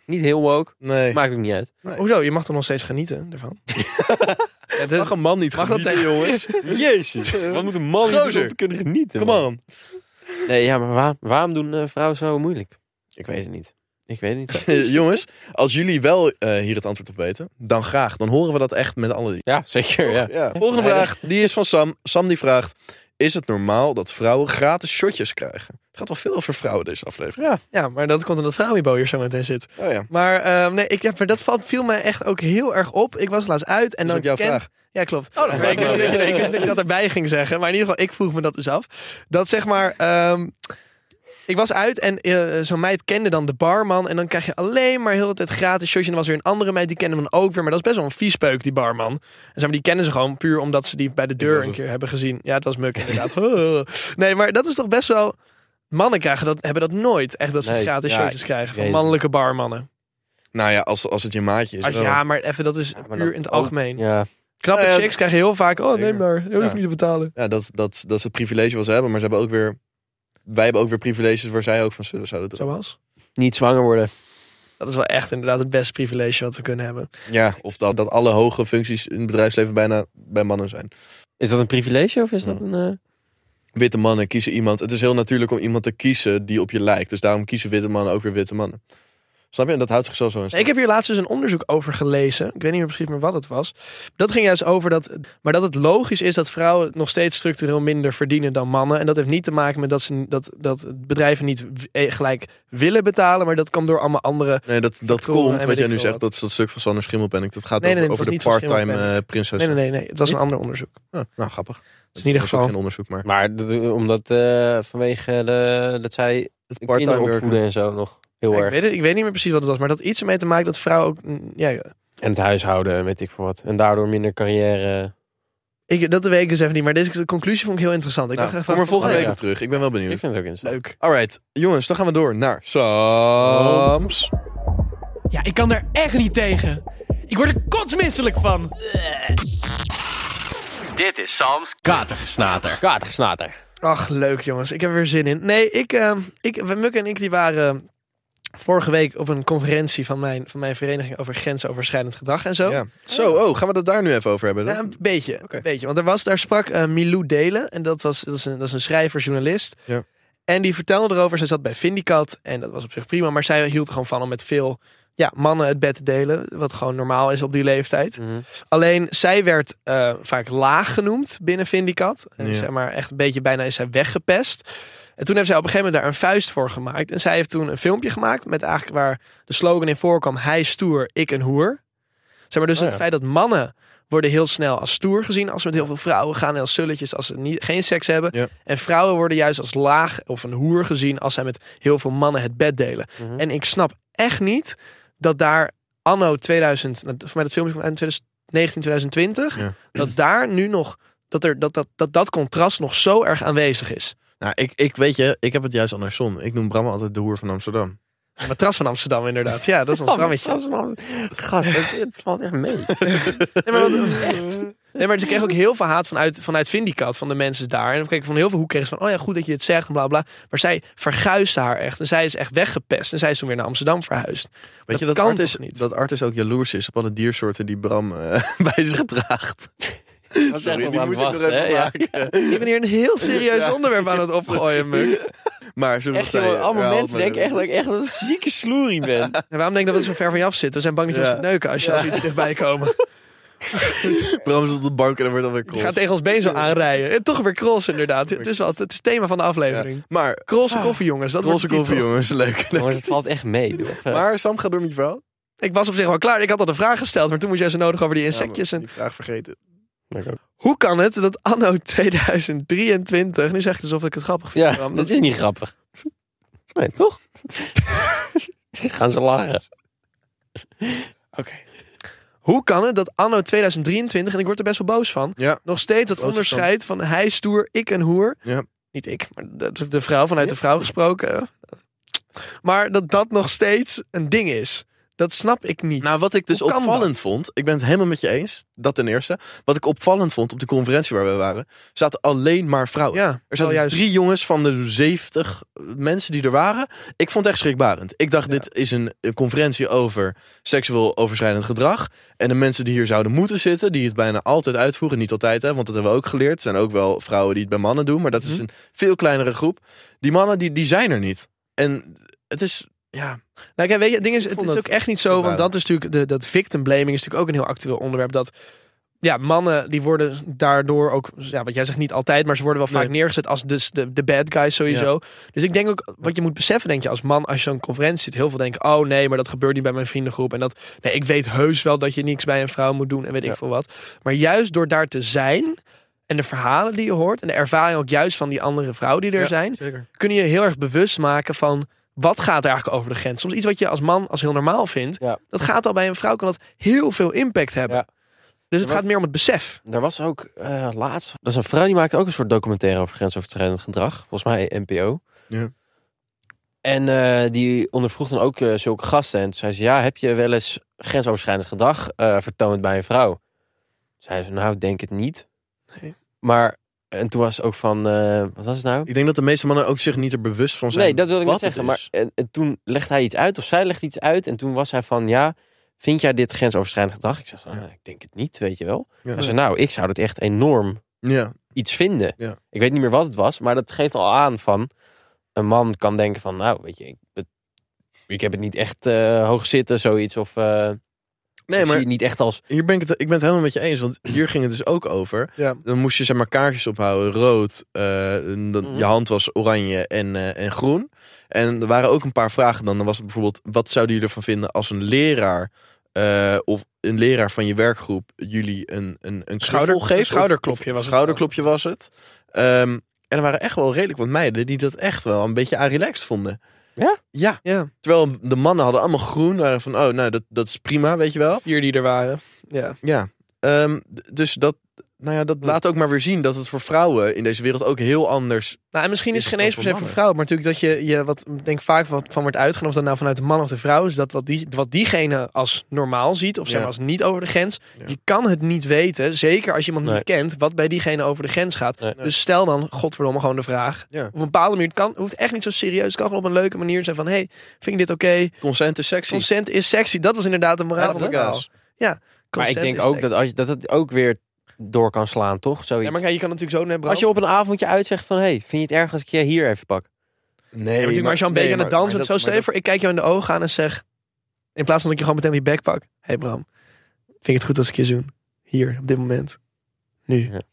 Speaker 3: Niet heel woke.
Speaker 1: nee.
Speaker 3: Maakt ook niet uit.
Speaker 1: Nee.
Speaker 2: Hoezo? Je mag toch nog steeds genieten ervan? het is,
Speaker 1: Mag een man niet
Speaker 2: Mag dat
Speaker 1: genieten, jongens?
Speaker 3: Jezus. Wat moet een man
Speaker 1: Gozer.
Speaker 3: doen om te kunnen genieten?
Speaker 1: Kom
Speaker 3: man?
Speaker 1: on.
Speaker 3: Nee, ja, maar waar- waarom doen eh, vrouwen zo moeilijk? Ik weet het niet. Ik weet het niet.
Speaker 1: Eh, jongens, als jullie wel eh, hier het antwoord op weten, dan graag. Dan horen we dat echt met alle...
Speaker 3: ja, zeker. Ja.
Speaker 1: Ja. Volgende
Speaker 3: Nee,
Speaker 1: vraag, die is van Sam. Sam die vraagt, is het normaal dat vrouwen gratis shotjes krijgen? Het gaat wel veel over vrouwen deze aflevering.
Speaker 2: ja, maar dat komt omdat vrouwenbo hier zo meteen zit.
Speaker 1: Oh ja,
Speaker 2: Maar, ehm, nee, ik, ja, maar dat valt, viel mij echt ook heel erg op. Ik was laatst uit en
Speaker 1: dat is
Speaker 2: dan
Speaker 1: ook jouw
Speaker 2: kent-
Speaker 1: vraag.
Speaker 2: Ja, klopt.
Speaker 1: Oh, dat
Speaker 2: Maar ik,
Speaker 1: maakt
Speaker 2: wist
Speaker 1: wel
Speaker 2: dat je,
Speaker 1: uit.
Speaker 2: ik wist dat je dat erbij ging zeggen. Maar in ieder geval, ik vroeg me dat dus af. Dat zeg maar... ehm, ik was uit en eh, zo'n meid kende dan de barman. En dan krijg je alleen maar heel de tijd gratis shotje. En er was weer een andere meid, die kende hem dan ook weer. Maar dat is best wel een viespeuk, die barman. En zeg maar, die kennen ze gewoon puur omdat ze die bij de deur
Speaker 1: was
Speaker 2: een
Speaker 1: het.
Speaker 2: keer hebben gezien. Ja, het was Muk inderdaad. nee, maar dat is toch best wel... Mannen krijgen dat, hebben dat nooit. Echt dat ze
Speaker 3: Nee,
Speaker 2: gratis
Speaker 3: ja,
Speaker 2: shotjes
Speaker 3: ik
Speaker 2: krijgen
Speaker 3: weet
Speaker 2: van
Speaker 3: het.
Speaker 2: mannelijke barmannen.
Speaker 1: Nou ja, als, als het je maatje is.
Speaker 2: Ah,
Speaker 1: wel.
Speaker 2: ja, maar even, dat is
Speaker 3: maar
Speaker 2: puur
Speaker 3: dat
Speaker 2: in het
Speaker 3: ook.
Speaker 2: algemeen.
Speaker 3: Ja.
Speaker 2: Knappe
Speaker 1: Nou ja,
Speaker 2: chicks krijgen heel vaak... Oh,
Speaker 1: zeker.
Speaker 2: neem maar. Je hoeft
Speaker 1: Ja.
Speaker 2: niet te betalen.
Speaker 1: Ja, dat, dat, dat is het privilege wat ze hebben. Maar ze hebben ook weer... Wij hebben ook weer privileges waar zij ook van zullen zouden doen.
Speaker 2: Zoals?
Speaker 3: Niet zwanger worden.
Speaker 2: Dat is wel echt inderdaad het beste privilege wat we kunnen hebben.
Speaker 1: Ja, of dat, dat alle hoge functies in het bedrijfsleven bijna bij mannen zijn.
Speaker 3: Is dat een privilege of is dat een... eh,
Speaker 1: Witte mannen kiezen iemand. Het is heel natuurlijk om iemand te kiezen die op je lijkt. Dus daarom kiezen witte mannen ook weer witte mannen. Snap je? En dat houdt zichzelf zo in stand.
Speaker 2: Ik heb hier laatst dus een onderzoek over gelezen. Ik weet niet meer precies meer wat het was. Dat ging juist over dat... Maar dat het logisch is dat vrouwen nog steeds structureel minder verdienen dan mannen. En dat heeft niet te maken met dat, ze, dat, dat bedrijven niet w- eh, gelijk willen betalen. Maar dat kwam door allemaal andere...
Speaker 1: Nee, dat, dat
Speaker 2: Factoren en
Speaker 1: komt,
Speaker 2: weet
Speaker 1: wat jij
Speaker 2: ik
Speaker 1: nu
Speaker 2: veel
Speaker 1: zegt,
Speaker 2: wat.
Speaker 1: dat is dat stuk van Sander Schimmelpenninck. Dat gaat
Speaker 2: Nee, nee,
Speaker 1: over,
Speaker 2: nee,
Speaker 1: over
Speaker 2: het
Speaker 1: de
Speaker 2: was niet van
Speaker 1: part-time
Speaker 2: Schimmelpenninck.
Speaker 1: eh, prinses.
Speaker 2: Nee, nee, nee. nee. Het was een
Speaker 1: Niet?
Speaker 2: ander onderzoek.
Speaker 1: Ah, nou, grappig.
Speaker 2: Dus in ieder
Speaker 1: Dat was ook
Speaker 2: geval...
Speaker 1: geen onderzoek, maar...
Speaker 3: Maar dat, omdat eh, vanwege de, dat zij
Speaker 1: Het
Speaker 3: kinderen
Speaker 1: part-time
Speaker 3: opvoeden
Speaker 1: werken.
Speaker 3: en zo nog heel
Speaker 2: Ja, ik,
Speaker 3: erg.
Speaker 2: weet het, ik weet niet meer precies wat het was. Maar dat had iets ermee te maken dat vrouwen ook... mm, Ja, ja.
Speaker 3: En het huishouden en weet ik veel wat. En daardoor minder carrière.
Speaker 2: ik, dat weet ik dus even niet. Maar deze conclusie vond ik heel interessant. Ik
Speaker 1: Nou,
Speaker 2: dacht even,
Speaker 1: kom er volgende
Speaker 2: oh,
Speaker 1: week
Speaker 2: ja.
Speaker 1: op terug. Ik ben wel
Speaker 3: Ik
Speaker 1: benieuwd.
Speaker 3: vind het ook interessant.
Speaker 2: Leuk.
Speaker 1: Alright, jongens, dan gaan we door naar Sams.
Speaker 5: Ja, ik kan daar echt niet tegen. Ik word er kotsmisselijk van.
Speaker 6: Dit is Sam's Katergesnater.
Speaker 3: Katergesnater.
Speaker 2: Ach, leuk jongens. Ik heb er weer zin in. Nee, ik, eh, ik we- Muk en ik die waren ehm, vorige week op een conferentie van mijn, van mijn vereniging over grensoverschrijdend gedrag en zo.
Speaker 1: Ja. Zo, oh, gaan we het daar nu even over hebben?
Speaker 2: Nou,
Speaker 1: Dat-
Speaker 2: een beetje,
Speaker 1: Oké.
Speaker 2: een beetje. Want er was, daar sprak eh, Milou Delen. En dat, was, dat, is een, dat is een schrijver, journalist.
Speaker 1: Ja.
Speaker 2: En die vertelde erover. Zij zat bij Vindicat. En dat was op zich prima. Maar zij hield er gewoon van om met veel ja, mannen het bed te delen. Wat gewoon normaal is op die leeftijd.
Speaker 3: Mhm.
Speaker 2: Alleen zij werd eh, vaak laag genoemd binnen Vindicat. En
Speaker 1: Ja.
Speaker 2: zeg maar echt een beetje bijna is zij weggepest. En toen heeft zij op een gegeven moment daar een vuist voor gemaakt. En zij heeft toen een filmpje gemaakt met eigenlijk waar de slogan in voorkwam: hij stoer, ik een hoer. Zeg maar dus
Speaker 3: Oh ja.
Speaker 2: het feit dat mannen worden heel snel als stoer gezien als ze met heel veel vrouwen gaan en als zulletjes als ze niet, geen seks hebben.
Speaker 1: Ja.
Speaker 2: En vrouwen worden juist als laag of een hoer gezien als zij met heel veel mannen het bed delen.
Speaker 3: Mhm.
Speaker 2: En ik snap echt niet dat daar anno 2000, voor mij dat filmpje van 2019, 2020,
Speaker 1: Ja.
Speaker 2: dat daar nu nog dat, er, dat, dat, dat dat contrast nog zo erg aanwezig is.
Speaker 1: Nou, ik, ik weet je, ik heb het juist andersom. Ik noem Bram altijd de hoer van Amsterdam.
Speaker 2: Een matras van Amsterdam inderdaad. Ja, dat is ons rammetje.
Speaker 3: Gast, het, het valt echt mee.
Speaker 2: Nee, maar wat, echt. Nee, maar ze kregen ook heel veel haat vanuit, vanuit Vindicat, van de mensen daar. En we kregen van heel veel hoek kregen ze van, oh ja, goed dat je dit zegt, en bla bla. Maar zij verguisde haar echt. En zij is echt weggepest. En zij is toen weer naar Amsterdam verhuisd.
Speaker 1: Weet je dat,
Speaker 2: kan
Speaker 1: Artis,
Speaker 2: toch niet?
Speaker 1: dat Artis ook jaloers is op alle diersoorten die Bram eh, bij zich draagt?
Speaker 3: was
Speaker 1: Sorry,
Speaker 3: echt nog
Speaker 1: die
Speaker 3: aan
Speaker 1: moest
Speaker 3: het
Speaker 1: ik nog
Speaker 3: wachten, hè?
Speaker 1: even
Speaker 3: Ja.
Speaker 1: maken.
Speaker 2: Ik ben hier een heel serieus
Speaker 1: Ja.
Speaker 2: onderwerp aan het opgooien, Muk.
Speaker 1: Maar zullen we
Speaker 3: Echt,
Speaker 1: het
Speaker 3: jongen,
Speaker 1: zeggen?
Speaker 3: allemaal
Speaker 1: Herhaal
Speaker 3: mensen
Speaker 1: het maar
Speaker 3: denken echt dat ik echt een zieke sloerie ben.
Speaker 2: En waarom denk ik dat we zo ver van je af zitten? We zijn bang dat je
Speaker 1: Ja.
Speaker 2: ons gaat neuken als je als we iets dichtbij komen.
Speaker 1: even. Bram zit op de bank en dan wordt alweer
Speaker 2: Je
Speaker 1: cross.
Speaker 2: gaat tegen ons been zo aanrijden. En toch weer cross, inderdaad. Het is, wel, het is thema van de aflevering.
Speaker 1: Ja. Maar
Speaker 3: Ah.
Speaker 2: Krolse koffie, jongens. Dat
Speaker 1: cross
Speaker 2: wordt de
Speaker 1: koffie
Speaker 2: titel. eh,
Speaker 1: jongens, leuk. leuk.
Speaker 3: Jongens, het valt echt mee. Doe. even.
Speaker 1: Maar Sam, ga door met je verhaal.
Speaker 2: Ik was op zich wel klaar. Ik had al de vraag gesteld, maar toen moest jij zo nodig over die insectjes.
Speaker 1: Ja,
Speaker 2: En
Speaker 1: maar Die vraag vergeten.
Speaker 2: hoe kan het dat anno 2023... Nu zegt het alsof ik het grappig vind.
Speaker 3: Ja,
Speaker 2: Bram.
Speaker 3: dat is niet grappig. Nee, toch? Gaan ze lachen.
Speaker 2: Oké. Hoe kan het dat anno 2023, en ik word er best wel boos van...
Speaker 1: Ja.
Speaker 2: nog steeds dat
Speaker 1: Boos
Speaker 2: onderscheid van hij stoer, ik een hoer...
Speaker 1: Ja.
Speaker 2: Niet ik, maar de, de vrouw, vanuit de vrouw gesproken. Maar dat dat nog steeds een ding is. Dat snap ik niet.
Speaker 1: Nou, wat ik dus
Speaker 2: Hoe kan
Speaker 1: opvallend vond, ik ben het helemaal met je eens, dat ten eerste. Wat ik opvallend vond op de conferentie waar we waren, zaten alleen maar vrouwen.
Speaker 2: ja,
Speaker 1: Er zaten
Speaker 2: wel Oh, juist.
Speaker 1: drie jongens van de 70 mensen die er waren. Ik vond het echt schrikbarend. Ik dacht, dit is een, een conferentie over seksueel overschrijdend gedrag. En de mensen die hier zouden moeten zitten, die het bijna altijd uitvoeren. Niet altijd, hè, want dat hebben we ook geleerd. Er zijn ook wel vrouwen die het bij mannen doen, maar dat
Speaker 2: Mhm.
Speaker 1: is een veel kleinere groep. Die mannen, die, die zijn er niet. En het is, ja,
Speaker 2: Nou, kijk, weet je, het ding is,
Speaker 1: Ik
Speaker 2: het
Speaker 1: vond
Speaker 2: is ook
Speaker 1: dat
Speaker 2: echt niet zo, want
Speaker 1: waardig.
Speaker 2: dat is natuurlijk, de, dat victim blaming is natuurlijk ook een heel actueel onderwerp. Dat ja, mannen die worden daardoor ook, ja, wat jij zegt niet altijd, maar ze worden wel vaak
Speaker 1: Nee.
Speaker 2: neergezet als dus de, de bad guys sowieso. Dus ik denk ook, wat je moet beseffen, denk je als man, als je zo'n conferentie zit, heel veel denken, oh nee, maar dat gebeurt niet bij mijn vriendengroep. En dat, nee, ik weet heus wel dat je niks bij een vrouw moet doen en weet ik veel wat. Maar juist door daar te zijn en de verhalen die je hoort en de ervaring ook juist van die andere vrouwen die er
Speaker 1: Ja,
Speaker 2: zijn,
Speaker 1: zeker.
Speaker 2: kun je je heel erg bewust maken van wat gaat er eigenlijk over de grens. Soms iets wat je als man als heel normaal vindt,
Speaker 3: Ja.
Speaker 2: dat gaat al bij een vrouw kan dat heel veel impact hebben.
Speaker 3: Ja.
Speaker 2: Dus het
Speaker 3: was-
Speaker 2: gaat meer om het besef.
Speaker 3: Er was ook eh, laatst... Dat is een vrouw die maakte ook een soort documentaire over grensoverschrijdend gedrag. Volgens mij NPO.
Speaker 1: Ja.
Speaker 3: En eh, die ondervroeg dan ook eh, zulke gasten. En toen zei ze, ja, heb je wel eens grensoverschrijdend gedrag eh, vertoond bij een vrouw? Toen Zei ze, nou, ik denk het niet.
Speaker 2: Nee.
Speaker 3: Maar, en toen was het ook van, eh, wat was het nou?
Speaker 1: ik denk dat de meeste mannen ook zich niet er bewust van zijn.
Speaker 3: Nee, dat wilde ik
Speaker 1: wat
Speaker 3: niet
Speaker 1: het
Speaker 3: zeggen. Maar
Speaker 1: is.
Speaker 3: en, en toen legde hij iets uit, of zij legde iets uit. En toen was hij van, ja, vind jij dit grensoverschrijdend gedrag? Ik zei van,
Speaker 1: Ja.
Speaker 3: nou, ik denk het niet, weet je wel.
Speaker 1: Ja.
Speaker 3: Hij zei, nou, ik zou dat echt enorm
Speaker 1: Ja,
Speaker 3: iets vinden.
Speaker 1: Ja.
Speaker 3: Ik weet niet meer wat het was, maar dat geeft al aan van... Een man kan denken van, nou, weet je, ik, het- ik heb het niet echt eh, hoog zitten, zoiets. Of eh
Speaker 1: nee,
Speaker 3: ik zie
Speaker 1: maar
Speaker 3: het niet echt als...
Speaker 1: Hier ben ik, het, ik ben het helemaal met je eens, want hier ging het dus ook over.
Speaker 2: Ja.
Speaker 1: Dan moest je zeg maar kaartjes ophouden, rood, eh, en dan-
Speaker 3: Mhm.
Speaker 1: je hand was oranje en, eh, en groen. En er waren ook een paar vragen dan. Dan was het bijvoorbeeld, wat zouden jullie ervan vinden als een leraar eh, of een leraar van je werkgroep jullie een, een, een
Speaker 2: Schouder-
Speaker 1: knuffel geeft?
Speaker 2: een schouderklopje
Speaker 1: Of- of
Speaker 2: was het
Speaker 1: schouderklopje was het. Ehm, en er waren echt wel redelijk wat meiden die dat echt wel een beetje aan relaxed vonden.
Speaker 3: Ja?
Speaker 1: Ja.
Speaker 2: Ja,
Speaker 1: Terwijl de mannen hadden allemaal groen, waren van, oh, nou, dat, dat is prima, weet je wel.
Speaker 2: vier die er waren. Ja.
Speaker 1: Ja, ehm, d- dus dat, nou ja, dat laat ook maar weer zien dat het voor vrouwen in deze wereld ook heel anders.
Speaker 2: Nou, en misschien is
Speaker 1: Is
Speaker 2: het
Speaker 1: het
Speaker 2: geen eens
Speaker 1: dan
Speaker 2: per
Speaker 1: voor
Speaker 2: se
Speaker 1: mannen?
Speaker 2: voor vrouwen, maar natuurlijk dat je, je wat ik denk vaak wat van wordt uitgegaan, of dat nou vanuit de man of de vrouw is, dat wat, die, wat diegene als normaal ziet, of zeg
Speaker 1: Ja.
Speaker 2: maar als niet over de grens,
Speaker 1: Ja.
Speaker 2: je kan het niet weten, zeker als je iemand
Speaker 3: Nee.
Speaker 2: niet kent, wat bij diegene over de grens gaat.
Speaker 3: Nee.
Speaker 2: Dus stel dan, godverdomme, gewoon de vraag,
Speaker 1: Ja.
Speaker 2: op een bepaalde manier. Het kan, hoeft echt niet zo serieus. Het kan gewoon op een leuke manier zijn van... hey, vind ik dit oké?
Speaker 1: Consent is sexy.
Speaker 2: Consent is sexy. Dat was inderdaad een moraal
Speaker 1: Ja,
Speaker 2: van
Speaker 1: dat is
Speaker 2: het verhaal.
Speaker 1: gaas.
Speaker 3: Maar ik
Speaker 2: Consent
Speaker 3: denk
Speaker 2: is
Speaker 3: ook
Speaker 2: sexy.
Speaker 3: dat, als, je- dat het ook weer door kan slaan, toch? Zoiets.
Speaker 2: Ja, maar kijk, je kan natuurlijk zo... Nee, bro.
Speaker 3: als je op een avondje uitzegt van, hey, vind je het erg als ik je hier even pak?
Speaker 1: Nee,
Speaker 2: Ja, maar natuurlijk, maar als je al een beetje
Speaker 1: nee,
Speaker 2: aan het
Speaker 1: maar-
Speaker 2: dansen
Speaker 1: maar
Speaker 2: bent, zo
Speaker 1: dat-
Speaker 2: stel
Speaker 1: maar
Speaker 2: je voor... ik kijk jou in de ogen aan en zeg... in plaats van dat ik je gewoon meteen mijn bek pak... hey Bram, vind ik het goed als ik je zoen? Hier, op dit moment. Nu.
Speaker 1: dat-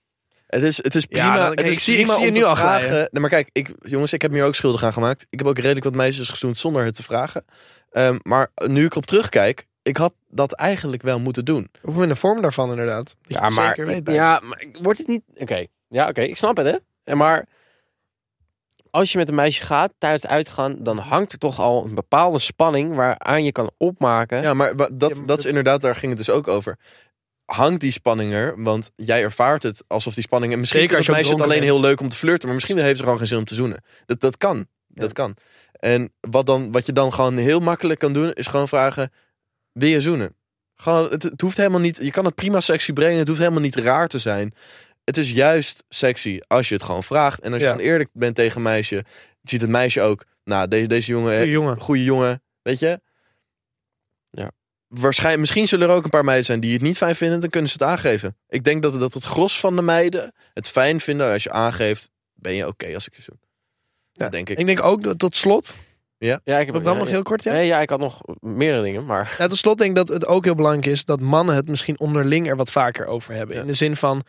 Speaker 1: Het is, het is
Speaker 2: Ja,
Speaker 1: prima.
Speaker 2: dan-
Speaker 1: het
Speaker 2: kijk,
Speaker 1: is
Speaker 2: ik zie- ik
Speaker 1: prima
Speaker 2: zie je
Speaker 1: om te
Speaker 2: nu al
Speaker 1: vragen.
Speaker 2: glijden.
Speaker 1: Nee, maar kijk, ik, jongens, ik heb me hier ook schuldig aan gemaakt. Ik heb ook redelijk wat meisjes gezoend zonder het te vragen. Ehm, maar nu ik erop terugkijk, ik had dat eigenlijk wel moeten doen.
Speaker 2: Of in de vorm daarvan inderdaad. Dat je het Zeker weet bij.
Speaker 3: ja, maar wordt het niet... Oké, ja, oké, ik snap het, hè? En Maar als je met een meisje gaat, tijdens het uitgaan... dan hangt er toch al een bepaalde spanning waaraan je kan opmaken...
Speaker 1: Ja, maar wa- dat,
Speaker 2: Ja, maar
Speaker 1: dat
Speaker 2: dat-
Speaker 1: is inderdaad, daar ging het dus ook over. Hangt die spanning er? Want jij ervaart het alsof die spanning. En misschien
Speaker 2: Zeker
Speaker 1: vindt
Speaker 2: als
Speaker 1: dat
Speaker 2: je ook
Speaker 1: meisje het alleen
Speaker 2: dronken
Speaker 1: heel leuk om te flirten, maar misschien heeft ze gewoon geen zin om te zoenen. Dat, dat kan. Dat kan. En wat, dan, wat je dan gewoon heel makkelijk kan doen, is gewoon vragen: wil je zoenen? Gewoon, het, het hoeft helemaal niet. Je kan het prima sexy brengen. Het hoeft helemaal niet raar te zijn. Het is juist sexy als je het gewoon vraagt. En als je
Speaker 2: Ja.
Speaker 1: gewoon eerlijk bent tegen een meisje. Je ziet het meisje ook. Nou, deze, deze jongen,
Speaker 2: Goeie jongen.
Speaker 1: goede jongen. Weet je?
Speaker 3: Ja.
Speaker 1: Waarschijnlijk, misschien zullen er ook een paar meiden zijn die het niet fijn vinden. Dan kunnen ze het aangeven. Ik denk dat, dat het gros van de meiden het fijn vinden als je aangeeft. Ben je oké als ik je zoen?
Speaker 2: Ja.
Speaker 1: Dat denk ik. Oh,
Speaker 2: Ik denk ook dat tot slot,
Speaker 3: Ja, ik heb
Speaker 2: dan
Speaker 3: ja,
Speaker 2: nog
Speaker 3: ja.
Speaker 2: heel kort, ja?
Speaker 3: Nee, ja, ik had nog meerdere dingen, maar...
Speaker 2: Ja, tot slot denk ik dat het ook heel belangrijk is dat mannen het misschien onderling er wat vaker over hebben.
Speaker 1: Ja.
Speaker 2: In de zin van,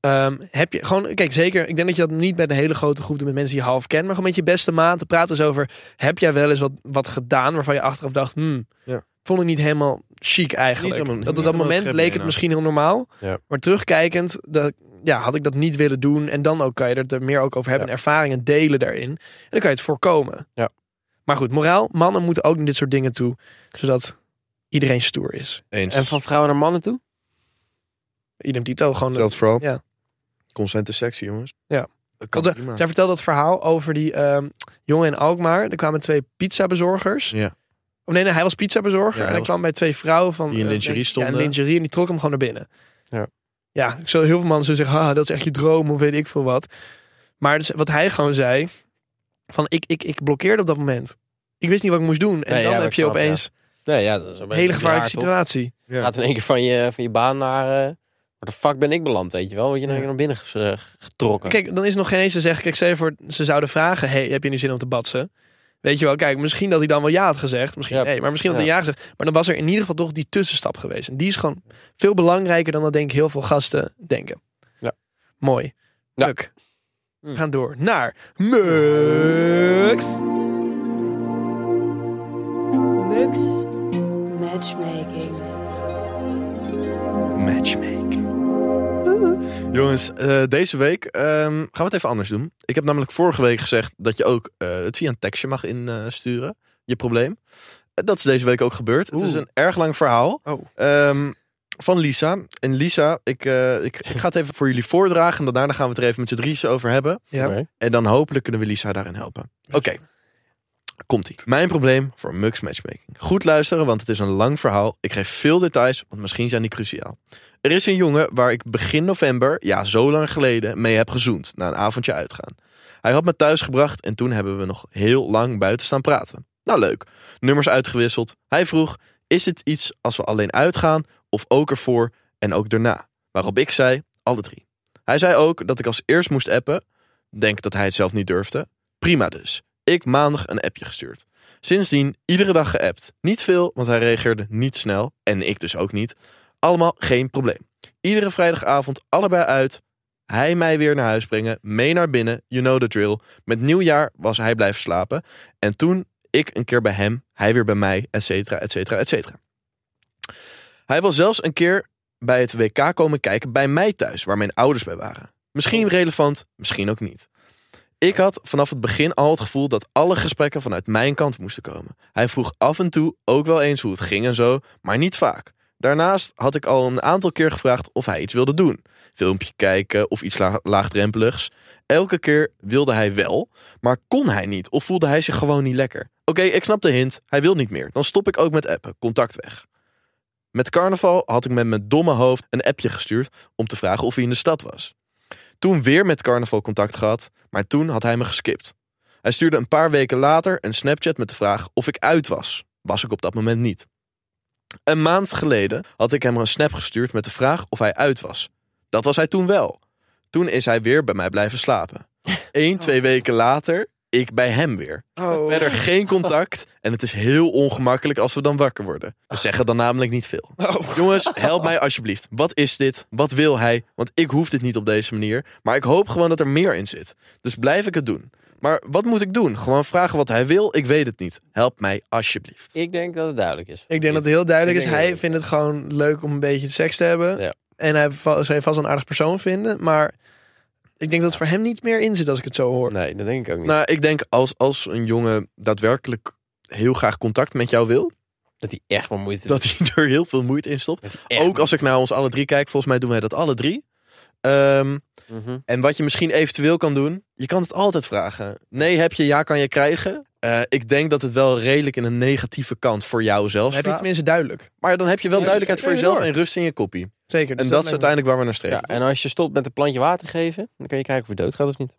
Speaker 2: ehm, heb je gewoon, kijk zeker, ik denk dat je dat niet bij de hele grote groep doet met mensen die je half kent, maar gewoon met je beste maat te praten eens over, heb jij wel eens wat, wat gedaan waarvan je achteraf dacht, hmm,
Speaker 1: Ja.
Speaker 2: vond ik niet helemaal chic eigenlijk.
Speaker 1: Niet helemaal-
Speaker 2: dat
Speaker 1: niet
Speaker 2: op dat
Speaker 1: helemaal
Speaker 2: moment
Speaker 1: het
Speaker 2: leek het
Speaker 1: grip,
Speaker 2: misschien heel normaal,
Speaker 3: Ja.
Speaker 2: maar terugkijkend, dat, ja, had ik dat niet willen doen en dan ook kan je het er meer ook over hebben en ervaringen delen daarin. En dan kan je het voorkomen.
Speaker 3: Ja.
Speaker 2: Maar goed, moraal, mannen moeten ook naar dit soort dingen toe, zodat iedereen stoer is.
Speaker 1: Eens.
Speaker 3: En van vrouwen naar mannen toe?
Speaker 2: Idem Tito gewoon. de-
Speaker 1: Zelfs vooral.
Speaker 2: Ja.
Speaker 1: Consent is sexy, jongens.
Speaker 2: Ja.
Speaker 1: Dat kan
Speaker 2: Want, eh,
Speaker 1: prima.
Speaker 2: zij vertelde dat verhaal over die ehm, jongen in Alkmaar. Er kwamen twee pizzabezorgers.
Speaker 1: Ja.
Speaker 2: Oh, nee, nee, hij was pizzabezorger.
Speaker 1: Ja, hij
Speaker 2: en hij
Speaker 1: was-
Speaker 2: kwam bij twee vrouwen van.
Speaker 1: Die in
Speaker 2: eh,
Speaker 1: lingerie
Speaker 2: denk- Ja,
Speaker 1: stonden.
Speaker 2: in lingerie. En die trok hem gewoon naar binnen.
Speaker 3: Ja.
Speaker 2: Ja, ik zou heel veel mannen zullen zeggen: ah, dat is echt je droom of weet ik veel wat. Maar dus wat hij gewoon zei: van ik, ik, ik blokkeerde op dat moment. Ik wist niet wat ik moest doen. En
Speaker 3: Nee,
Speaker 2: dan
Speaker 3: ja,
Speaker 2: heb
Speaker 3: ik
Speaker 2: je
Speaker 3: snap,
Speaker 2: opeens
Speaker 3: Nee, ja, dat is een
Speaker 2: een hele gevaarlijke situatie.
Speaker 1: Ja.
Speaker 3: Gaat in één keer van je, van je baan naar... eh waar de fuck ben ik beland, weet je wel? Word je nou
Speaker 2: Ja.
Speaker 3: weer naar binnen ges- eh, getrokken?
Speaker 2: Kijk, dan is nog geen eens te zeggen. Kijk, stel je voor, ze zouden vragen: hey, heb je nu zin om te batsen? Weet je wel, kijk, misschien dat hij dan wel ja had gezegd. Misschien
Speaker 3: Ja,
Speaker 2: nee, maar misschien had
Speaker 3: ja.
Speaker 2: hij ja gezegd. Maar dan was er in ieder geval toch die tussenstap geweest. En die is gewoon veel belangrijker dan dat denk ik heel veel gasten denken.
Speaker 3: Ja.
Speaker 2: Mooi.
Speaker 3: Ja.
Speaker 2: Leuk. We gaan door naar Mux.
Speaker 4: Mux Matchmaking.
Speaker 1: Matchmaking. Jongens, eh, deze week ehm, gaan we het even anders doen. Ik heb namelijk vorige week gezegd dat je ook eh, het via een tekstje mag insturen. je probleem. Eh, Dat is deze week ook gebeurd. Het is
Speaker 2: Oeh.
Speaker 1: een erg lang verhaal.
Speaker 2: Oh.
Speaker 1: Ehm, van Lisa. En Lisa, ik, eh, ik, ik ga het even voor jullie voordragen. En daarna gaan we het er even met z'n drieën over hebben.
Speaker 2: Ja.
Speaker 3: Oké.
Speaker 1: En dan hopelijk kunnen we Lisa daarin helpen. Oké. Komt-ie. Mijn probleem voor Mux Matchmaking. Goed luisteren, want het is een lang verhaal. Ik geef veel details, want misschien zijn die cruciaal. Er is een jongen waar ik begin november, ja zo lang geleden, mee heb gezoend. Na een avondje uitgaan. Hij had me thuis gebracht en toen hebben we nog heel lang buiten staan praten. Nou leuk. Nummers uitgewisseld. Hij vroeg, is dit iets als we alleen uitgaan of ook ervoor en ook daarna? Waarop ik zei, alle drie. Hij zei ook dat ik als eerst moest appen. Denk dat hij het zelf niet durfde. Prima dus. Ik maandag een appje gestuurd. Sindsdien iedere dag geappt. Niet veel, want hij reageerde niet snel. En ik dus ook niet. Allemaal geen probleem. Iedere vrijdagavond allebei uit. Hij mij weer naar huis brengen. Mee naar binnen. You know the drill. Met nieuwjaar was hij blijven slapen. En toen ik een keer bij hem. Hij weer bij mij. Et cetera, et cetera, et cetera. Hij wil zelfs een keer bij het WK komen kijken bij mij thuis. Waar mijn ouders bij waren. Misschien relevant, misschien ook niet. Ik had vanaf het begin al het gevoel dat alle gesprekken vanuit mijn kant moesten komen. Hij vroeg af en toe ook wel eens hoe het ging en zo, maar niet vaak. Daarnaast had ik al een aantal keer gevraagd of hij iets wilde doen. Filmpje kijken of iets la- laagdrempeligs. Elke keer wilde hij wel, maar kon hij niet of voelde hij zich gewoon niet lekker. Oké, ik snap de hint. Hij wil niet meer. Dan stop ik ook met appen. Contact weg. Met carnaval had ik met mijn domme hoofd een appje gestuurd om te vragen of hij in de stad was. Toen weer met carnaval contact gehad, maar toen had hij me geskipt. Hij stuurde een paar weken later een Snapchat met de vraag of ik uit was. Was ik op dat moment niet. Een maand geleden had ik hem een snap gestuurd met de vraag of hij uit was. Dat was hij toen wel. Toen is hij weer bij mij blijven slapen. Eén, twee weken later, ik bij hem weer.
Speaker 2: Oh.
Speaker 1: Verder geen contact. En het is heel ongemakkelijk als we dan wakker worden. We zeggen dan namelijk niet veel. Jongens, help mij alsjeblieft. Wat is dit? Wat wil hij? Want ik hoef dit niet op deze manier. Maar ik hoop gewoon dat er meer in zit. Dus blijf ik het doen. Maar wat moet ik doen? Gewoon vragen wat hij wil? Ik weet het niet. Help mij alsjeblieft.
Speaker 3: Ik denk dat het duidelijk is.
Speaker 2: Ik denk dat het heel duidelijk
Speaker 3: Ik
Speaker 2: is.
Speaker 3: denk
Speaker 2: Hij
Speaker 3: dat-
Speaker 2: vindt het gewoon leuk om een beetje seks te hebben.
Speaker 3: Ja.
Speaker 2: En hij va- zou je vast een aardig persoon vinden. Maar ik denk dat het voor hem niet meer in zit als ik het zo hoor.
Speaker 3: Nee, dat denk ik ook niet.
Speaker 1: Nou, ik denk als, als een jongen daadwerkelijk heel graag contact met jou wil,
Speaker 3: dat hij echt wel moeite
Speaker 1: dat hij er heel veel moeite in stopt. Ook als ik naar ons alle drie kijk, volgens mij doen wij dat alle drie. Ehm,
Speaker 3: Mhm.
Speaker 1: En wat je misschien eventueel kan doen, je kan het altijd vragen. Nee, heb je, ja, kan je krijgen. Eh, ik denk dat het wel redelijk in een negatieve kant voor jou zelf
Speaker 2: Dan heb je het
Speaker 1: staat.
Speaker 2: tenminste duidelijk.
Speaker 1: Maar dan heb je wel
Speaker 2: Ja,
Speaker 1: duidelijkheid voor
Speaker 2: ja,
Speaker 1: jezelf
Speaker 2: hoor.
Speaker 1: en rust in je koppie.
Speaker 2: Zeker. dus
Speaker 1: En dat is
Speaker 2: lijkt me-
Speaker 1: uiteindelijk waar we naar
Speaker 3: Ja,
Speaker 1: streven.
Speaker 3: en als je stopt met een plantje water geven, dan kun je kijken of je doodgaat of niet.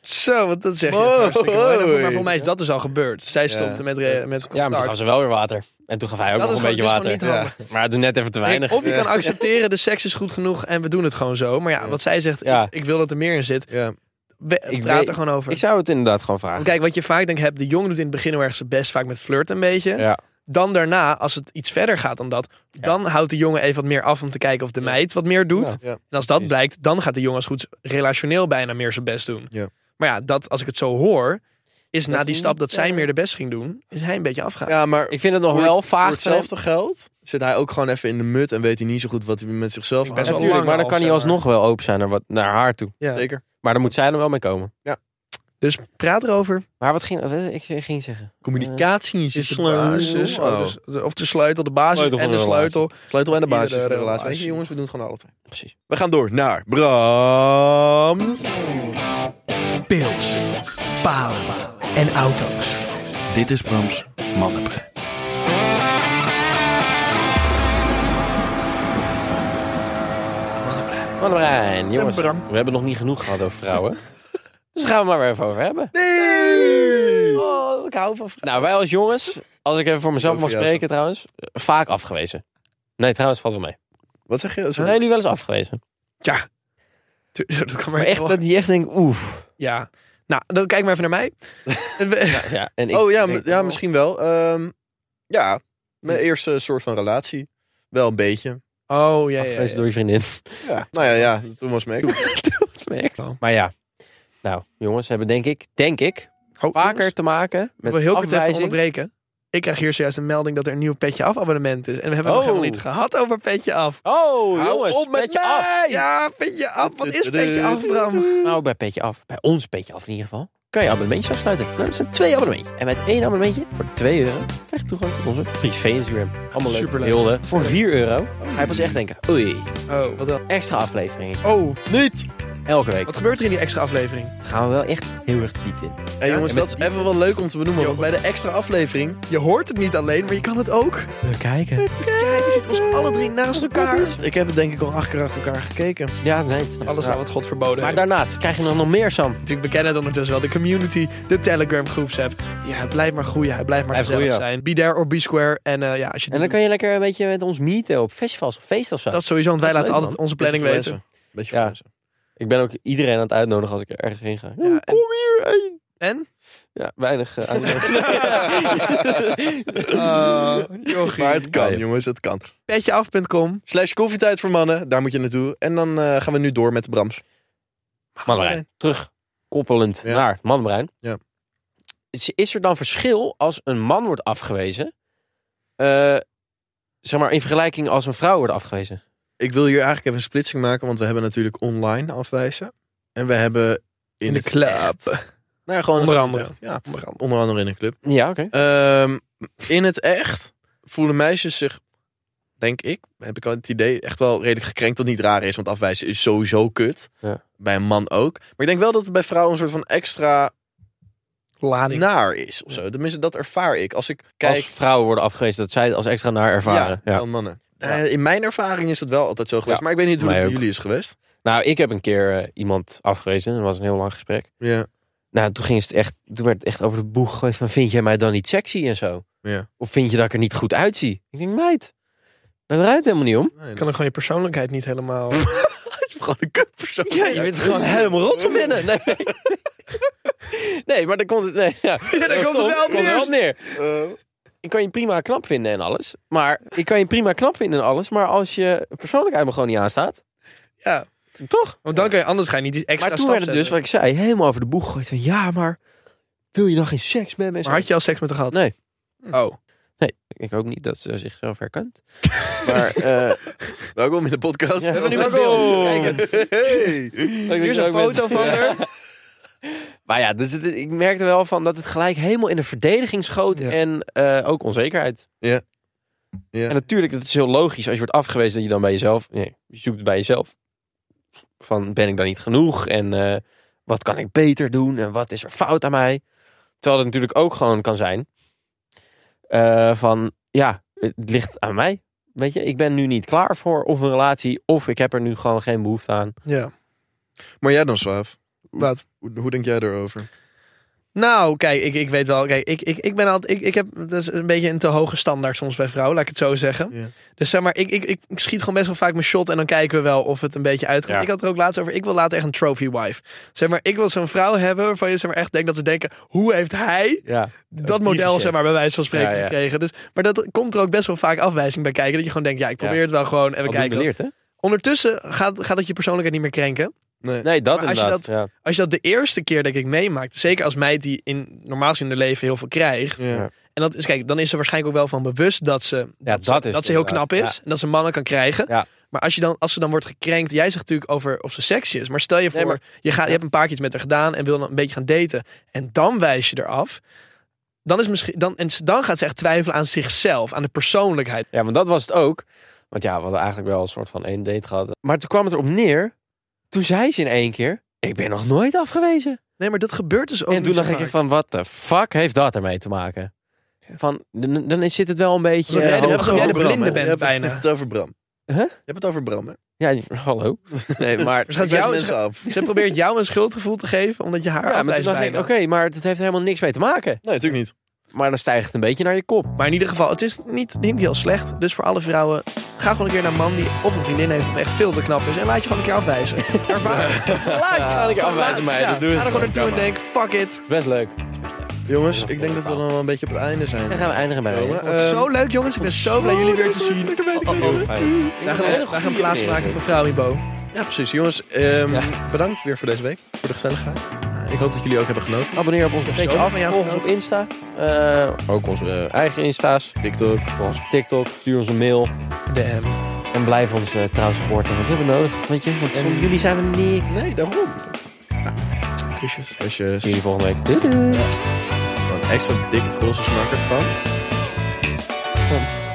Speaker 2: Zo, want dat zeg je.
Speaker 1: Mooi.
Speaker 2: Hartstikke mooi. Nou, voor- Maar voor mij is dat dus al gebeurd. Zij stopte met, re- met
Speaker 3: Ja, maar toen gaf
Speaker 2: contact.
Speaker 3: ze wel weer water. En toen gaf hij ook
Speaker 2: Dat
Speaker 3: nog
Speaker 2: is
Speaker 3: een
Speaker 2: gewoon-
Speaker 3: beetje
Speaker 2: het is
Speaker 3: water.
Speaker 2: gewoon niet
Speaker 3: Maar toen net even te weinig.
Speaker 2: of je kan accepteren, de seks is goed genoeg en we doen het gewoon zo. Maar ja, wat zij zegt,
Speaker 3: Ja.
Speaker 2: ik, ik wil dat er meer in zit.
Speaker 1: Ja.
Speaker 2: We,
Speaker 3: Ik
Speaker 2: praat
Speaker 3: weet-
Speaker 2: er gewoon over.
Speaker 3: Ik zou het inderdaad gewoon
Speaker 2: Want
Speaker 3: vragen.
Speaker 2: kijk, wat je vaak denkt, heb, de jongen doet in het begin heel erg zijn best vaak met flirten een beetje.
Speaker 3: Ja.
Speaker 2: Dan daarna, als het iets verder gaat dan dat, dan houdt de jongen even wat meer af om te kijken of de meid wat meer doet.
Speaker 1: Ja. Ja.
Speaker 2: En als dat
Speaker 3: Precies.
Speaker 2: blijkt, dan gaat de jongen als goed is relationeel bijna meer zijn best doen.
Speaker 1: Ja.
Speaker 2: Maar ja, dat, als ik het zo hoor, is na
Speaker 3: Dat
Speaker 2: die
Speaker 3: niet,
Speaker 2: stap dat
Speaker 3: ja.
Speaker 2: zij meer de best ging doen, is hij een beetje afgehaald.
Speaker 1: Ja, maar
Speaker 3: Ik vind het nog
Speaker 1: Voor
Speaker 3: wel
Speaker 1: het-
Speaker 3: vaag.
Speaker 1: Voor hetzelfde geld zit hij ook gewoon even in de mut en weet hij niet zo goed wat hij met zichzelf
Speaker 2: Ik
Speaker 1: aan
Speaker 2: ben
Speaker 1: heeft.
Speaker 2: wel lang
Speaker 3: Natuurlijk, maar dan
Speaker 2: al,
Speaker 3: kan hij
Speaker 2: zeg maar.
Speaker 3: alsnog wel open zijn naar, wat, naar haar toe.
Speaker 2: Ja.
Speaker 1: Zeker.
Speaker 3: Maar dan moet zij er wel mee komen.
Speaker 2: Dus praat erover.
Speaker 3: Maar wat ging eh, ik ging iets zeggen?
Speaker 1: Communicatie is,
Speaker 2: Is
Speaker 1: de
Speaker 2: de
Speaker 1: basis.
Speaker 2: basis,
Speaker 1: Oh.
Speaker 2: oh, dus de- of de sleutel, de basis
Speaker 3: Sleutel van
Speaker 2: en de
Speaker 3: de relatie.
Speaker 2: sleutel.
Speaker 1: Sleutel en de basis van
Speaker 2: Iedere
Speaker 1: de relatie. Weet je,
Speaker 2: relatie.
Speaker 1: jongens, we doen het gewoon alle twee.
Speaker 3: Precies.
Speaker 1: We gaan door naar Brams.
Speaker 5: Pils, palen en auto's.
Speaker 6: Dit is Brams Mannenbrein.
Speaker 3: Mandarijn, jongens. We hebben nog niet genoeg gehad over vrouwen. dus gaan we maar weer even over hebben.
Speaker 2: Oh, ik hou van vrouwen.
Speaker 3: Nou, wij als jongens, als ik even voor mezelf
Speaker 1: Ook
Speaker 3: mag
Speaker 1: voor jou
Speaker 3: spreken trouwens, eh, vaak afgewezen. Nee, trouwens, valt wel mee.
Speaker 1: Wat zeg je?
Speaker 3: Zijn jullie wel eens afgewezen?
Speaker 2: Ja. Tu- Dat kan maar,
Speaker 3: Maar echt,
Speaker 2: wel.
Speaker 3: dat je echt denkt, oeh.
Speaker 2: Ja. Nou, dan kijk maar even naar mij. We-
Speaker 3: Ja, en ik
Speaker 1: Oh ja,
Speaker 3: denk-
Speaker 1: m- ja misschien wel. Ehm, ja, mijn eerste soort van relatie. Wel een beetje.
Speaker 2: oh, ja, ja,
Speaker 3: Afgewezen
Speaker 2: ja.
Speaker 3: door je vriendin.
Speaker 1: Ja. Nou ja, ja, toen was mijn ex.
Speaker 3: Dat merkt. Oh. Maar ja, nou, jongens hebben denk ik, denk ik,
Speaker 2: Oh,
Speaker 3: vaker
Speaker 2: jongens,
Speaker 3: te maken
Speaker 2: Ik
Speaker 3: met
Speaker 2: wil heel kort even
Speaker 3: afwijzing.
Speaker 2: onderbreken. Ik krijg hier zojuist een melding dat er een nieuw Petje Af abonnement is. En we hebben het nog
Speaker 3: Oh.
Speaker 2: helemaal niet gehad over Petje Af.
Speaker 3: Oh,
Speaker 1: Hou
Speaker 3: jongens,
Speaker 1: op met
Speaker 3: petje af.
Speaker 2: Ja, Petje Af. Wat is Petje Af, Bram?
Speaker 3: Nou, bij Petje Af, bij ons Petje Af in ieder geval, kan je abonnementjes afsluiten. Nou, dat zijn twee abonnementjes. En met één abonnementje voor 2 euro krijg je toegang tot onze privé Instagram. Allemaal leuk.
Speaker 2: Superleuk.
Speaker 3: Hilde. Voor 4 euro ga je pas echt denken, oei,
Speaker 2: Oh, wat dan?
Speaker 3: extra afleveringen.
Speaker 2: Oh,
Speaker 1: Niet!
Speaker 3: Elke week
Speaker 2: wat gebeurt er in die extra aflevering?
Speaker 3: gaan we wel echt heel erg diep in.
Speaker 1: En jongens,
Speaker 3: en met
Speaker 1: dat is even wel leuk om te benoemen. Want bij de extra aflevering
Speaker 2: Je hoort het niet alleen, maar je kan het ook.
Speaker 3: We kijken.
Speaker 2: Kijk, je ziet ons alle drie naast elkaar.
Speaker 1: Ik heb het denk ik al acht keer achter elkaar gekeken.
Speaker 3: Ja, nee. snap ik.
Speaker 2: Alles
Speaker 3: Ja.
Speaker 2: waar wat God verboden
Speaker 3: Maar
Speaker 2: heeft.
Speaker 3: daarnaast krijg je dan nog meer, Sam.
Speaker 2: Natuurlijk, we kennen het ondertussen wel. De community, de Telegram groepsapp. Ja, het blijft maar groeien. Het blijft maar
Speaker 3: Blijft
Speaker 2: gezellig
Speaker 3: groeien.
Speaker 2: zijn. Be there or be square. En eh, ja, als je
Speaker 3: En dan kan je lekker een beetje met ons meeten op festivals of feest of zo.
Speaker 2: Dat is sowieso, want wij
Speaker 3: Dat is
Speaker 2: laten
Speaker 3: leuk,
Speaker 2: altijd onze planning
Speaker 1: Beetje
Speaker 2: weten.
Speaker 1: verlessen. Beetje
Speaker 3: Ja.
Speaker 1: verlessen.
Speaker 3: Ik ben ook iedereen aan het uitnodigen als ik ergens heen ga.
Speaker 2: Ja, en-
Speaker 3: kom hier! hey.
Speaker 2: En?
Speaker 3: Ja, weinig eh, uitnodiging.
Speaker 1: Maar het kan,
Speaker 3: Ja, ja.
Speaker 1: jongens, het kan.
Speaker 2: Petjeaf.com.
Speaker 1: Slash koffietijd voor mannen, daar moet je naartoe. En dan eh, gaan we nu door met de Brams.
Speaker 3: Mannenbrein. Terug koppelend
Speaker 1: Ja.
Speaker 3: naar het mannenbrein.
Speaker 1: Ja.
Speaker 3: Is, is er dan verschil als een man wordt afgewezen? eh, zeg maar in vergelijking als een vrouw wordt afgewezen.
Speaker 1: Ik wil hier eigenlijk even een splitsing maken, want we hebben natuurlijk online afwijzen. En we hebben in,
Speaker 2: In de
Speaker 1: het
Speaker 2: club.
Speaker 1: echt- Nou, ja, gewoon
Speaker 2: Onder
Speaker 1: in het
Speaker 2: andere.
Speaker 1: echt, Ja, onder andere in een club.
Speaker 3: Ja, oké.
Speaker 1: Ehm, in het echt voelen meisjes zich, denk ik, heb ik al het idee, echt wel redelijk gekrenkt. Wat niet raar is, want afwijzen is sowieso kut.
Speaker 3: Ja.
Speaker 1: Bij een man ook. Maar ik denk wel dat het bij vrouwen een soort van extra
Speaker 2: Lading.
Speaker 1: naar is. Of zo. Tenminste, dat ervaar ik. Als ik kijk
Speaker 3: Als vrouwen worden afgewezen, dat zij het als extra naar ervaren. Ja,
Speaker 1: Ja, dan mannen. Eh, in mijn ervaring is dat wel altijd zo geweest.
Speaker 3: Ja,
Speaker 1: Maar ik weet niet hoe
Speaker 3: mij
Speaker 1: het bij
Speaker 3: ook.
Speaker 1: jullie is geweest.
Speaker 3: Nou, ik heb een keer eh, iemand afgewezen. Dat was een heel lang gesprek.
Speaker 1: Ja.
Speaker 3: Nou, toen, ging het echt, toen werd het echt over de boeg gegooid van... vind jij mij dan niet sexy en zo?
Speaker 1: Ja.
Speaker 3: Of vind je dat ik er niet goed uitzie? Ik denk, meid, daar draait het helemaal niet om.
Speaker 1: Nee,
Speaker 2: Je kan ook gewoon je persoonlijkheid niet helemaal...
Speaker 1: gewoon een kutpersoon.
Speaker 3: Ja, je bent gewoon helemaal rot van binnen. Nee, nee maar dan komt het... Nee, ja.
Speaker 2: daar
Speaker 3: Dat was
Speaker 2: komt het
Speaker 3: stom.
Speaker 2: wel op
Speaker 3: Komt er
Speaker 2: neer.
Speaker 3: wel op neer. Oh. Ik kan je prima knap vinden en alles. Maar ik kan je prima knap vinden en alles. Maar als je persoonlijkheid me gewoon niet aanstaat...
Speaker 2: ja,
Speaker 3: Toch?
Speaker 2: want dan kan je anders ga je niet die extra
Speaker 3: Maar toen
Speaker 2: stap
Speaker 3: werd het dus,
Speaker 2: zetten.
Speaker 3: wat ik zei, helemaal over de boeg gegooid. Van, ja, maar wil je dan geen seks met me? en zo?
Speaker 2: Maar had je al seks met haar gehad?
Speaker 3: Nee.
Speaker 2: Oh.
Speaker 3: Ik ook niet dat ze zichzelf herkent. maar eh,
Speaker 1: Welkom in de podcast.
Speaker 3: Ja, We hebben nu
Speaker 2: welkom. wat beeld. Kijk
Speaker 1: Hey.
Speaker 2: Hier is een foto van haar.
Speaker 3: Maar ja, dus het- ik merkte wel van dat het gelijk helemaal in de verdediging schoot.
Speaker 2: Ja.
Speaker 3: En eh, ook onzekerheid.
Speaker 1: Ja. Ja.
Speaker 3: En natuurlijk, dat is heel logisch. Als je wordt afgewezen, dat je dan bij jezelf... Nee, je zoekt het bij jezelf. Van, ben ik dan niet genoeg? En eh, wat kan ik beter doen? En wat is er fout aan mij? Terwijl het natuurlijk ook gewoon kan zijn eh, van, ja, het ligt aan mij. Weet je, ik ben nu niet klaar voor of een relatie of ik heb er nu gewoon geen behoefte aan.
Speaker 2: Ja,
Speaker 1: Maar jij dan, Swaaf?
Speaker 3: Mm.
Speaker 2: wat?
Speaker 1: Hoe, hoe denk jij erover?
Speaker 2: Nou, kijk, ik, ik weet wel. Kijk, ik, ik, ik ben altijd. Ik, ik heb. Dat is een beetje een te hoge standaard soms bij vrouwen, laat ik het zo zeggen.
Speaker 1: Ja.
Speaker 2: Dus zeg maar, ik, ik, ik ik schiet gewoon best wel vaak mijn shot en dan kijken we wel of het een beetje uitkomt.
Speaker 3: Ja.
Speaker 2: Ik had het er ook laatst over. Ik wil later echt een trophy wife. Zeg maar, ik wil zo'n vrouw hebben waarvan je zeg maar echt denkt dat ze denken: hoe heeft hij
Speaker 3: Ja,
Speaker 2: dat
Speaker 3: Oh, die
Speaker 2: model,
Speaker 3: gezet.
Speaker 2: zeg maar, bij wijze van spreken
Speaker 3: Ja, ja.
Speaker 2: gekregen? Dus, maar dat komt er ook best wel vaak afwijzing bij kijken. Dat je gewoon denkt: ja, ik probeer
Speaker 3: Ja.
Speaker 2: het wel gewoon en we
Speaker 3: Wat
Speaker 2: kijken. wel.
Speaker 3: geleerd, hè?
Speaker 2: Ondertussen gaat, gaat dat je persoonlijkheid niet meer krenken.
Speaker 1: Nee.
Speaker 3: Nee, dat
Speaker 2: Maar als je
Speaker 3: inderdaad. ja.
Speaker 2: Als je dat de eerste keer, denk ik, meemaakt. Zeker als meid die in, normaal gezien in haar leven heel veel krijgt.
Speaker 1: Ja.
Speaker 2: En dat is, kijk, dan is ze waarschijnlijk ook wel van bewust dat ze, dat
Speaker 3: dat
Speaker 2: ze,
Speaker 3: is
Speaker 2: dat
Speaker 3: het
Speaker 2: ze heel
Speaker 3: inderdaad.
Speaker 2: knap is. En dat ze mannen kan krijgen.
Speaker 3: Ja.
Speaker 2: Maar als, je dan, als ze dan wordt gekrenkt, jij zegt natuurlijk over of ze sexy is. Maar stel je voor,
Speaker 3: maar-
Speaker 2: je, gaat, je hebt een paar keer iets met haar gedaan en wil dan een beetje gaan daten. En dan wijs je eraf. Dan, is misschien, dan, en ze- dan gaat ze echt twijfelen aan zichzelf, aan de persoonlijkheid.
Speaker 3: Ja, want dat was het ook. Want ja, we hadden eigenlijk wel een soort van één date gehad. Maar toen kwam het erop neer. Toen zei ze in één keer, ik ben nog nooit afgewezen.
Speaker 2: Nee, maar dat gebeurt dus ook
Speaker 3: en toen
Speaker 2: niet zo
Speaker 3: dacht ik
Speaker 2: vaak.
Speaker 3: echt van, wat de fuck heeft dat ermee te maken? Van, dan dan zit het wel een beetje... eh,
Speaker 2: Alsof jij de-
Speaker 3: hoog-
Speaker 2: alsof jij de
Speaker 1: Bram,
Speaker 2: blinde
Speaker 1: hè?
Speaker 2: bent
Speaker 1: Je hebt-
Speaker 2: bijna.
Speaker 1: Je hebt het over Bram.
Speaker 3: Huh?
Speaker 1: Je hebt het over Bram, hè?
Speaker 3: Ja, hallo. Nee, maar...
Speaker 2: Ze gaat
Speaker 1: Ik wijs
Speaker 2: jou-
Speaker 1: mensen af.
Speaker 2: Ze probeert jou een schuldgevoel te geven, omdat je haar
Speaker 3: Ja, maar toen
Speaker 2: afwijst
Speaker 3: dacht ik, oké,
Speaker 2: bijna.
Speaker 3: maar dat heeft er helemaal niks mee te maken.
Speaker 1: Nee, natuurlijk niet.
Speaker 3: Maar dan stijgt het een beetje naar je kop.
Speaker 2: Maar in ieder geval, het is niet, niet heel slecht. Dus voor alle vrouwen, ga gewoon een keer naar een man die of een vriendin heeft of echt veel te knap is. En laat je gewoon een keer afwijzen. Ervaar het. Laat je
Speaker 3: Ga een keer afwijzen, meid. Dat doe
Speaker 2: Ga
Speaker 3: ik
Speaker 2: er gewoon
Speaker 3: gewoon.
Speaker 2: naartoe en
Speaker 3: Kan
Speaker 2: denk, fuck it.
Speaker 3: Best leuk.
Speaker 1: Jongens, ik denk dat we dan wel een beetje op het einde
Speaker 3: Dan
Speaker 1: zijn.
Speaker 3: gaan we eindigen bij
Speaker 1: Jongen,
Speaker 3: een
Speaker 1: eh,
Speaker 2: zo leuk jongens, ik ben zo blij jullie weer te zien.
Speaker 3: heel Oh, fijn.
Speaker 2: Wij gaan, wij gaan plaats maken voor vrouwenbo.
Speaker 1: Ja, precies. Jongens, ehm, bedankt weer voor deze week. Voor de gezelligheid. Nou, Ik hoop dat jullie ook hebben genoten.
Speaker 3: Abonneer op ons op
Speaker 2: Zo,
Speaker 3: Steekje Af.
Speaker 2: van jou
Speaker 3: Volg ons op
Speaker 2: genoten.
Speaker 3: Insta. Eh, ook onze eh, eigen Insta's.
Speaker 1: TikTok.
Speaker 3: Volg ons op TikTok. Stuur ons een mail.
Speaker 2: Damn.
Speaker 3: En blijf ons eh, trouw supporten. Want dat hebben we nodig. Weet je, want zonder jullie zijn we niks.
Speaker 1: Nee, daarom.
Speaker 2: Kusjes.
Speaker 1: Als je
Speaker 3: Jullie volgende week. Doei doei.
Speaker 1: een extra dikke kolossus maakt van...
Speaker 2: Want...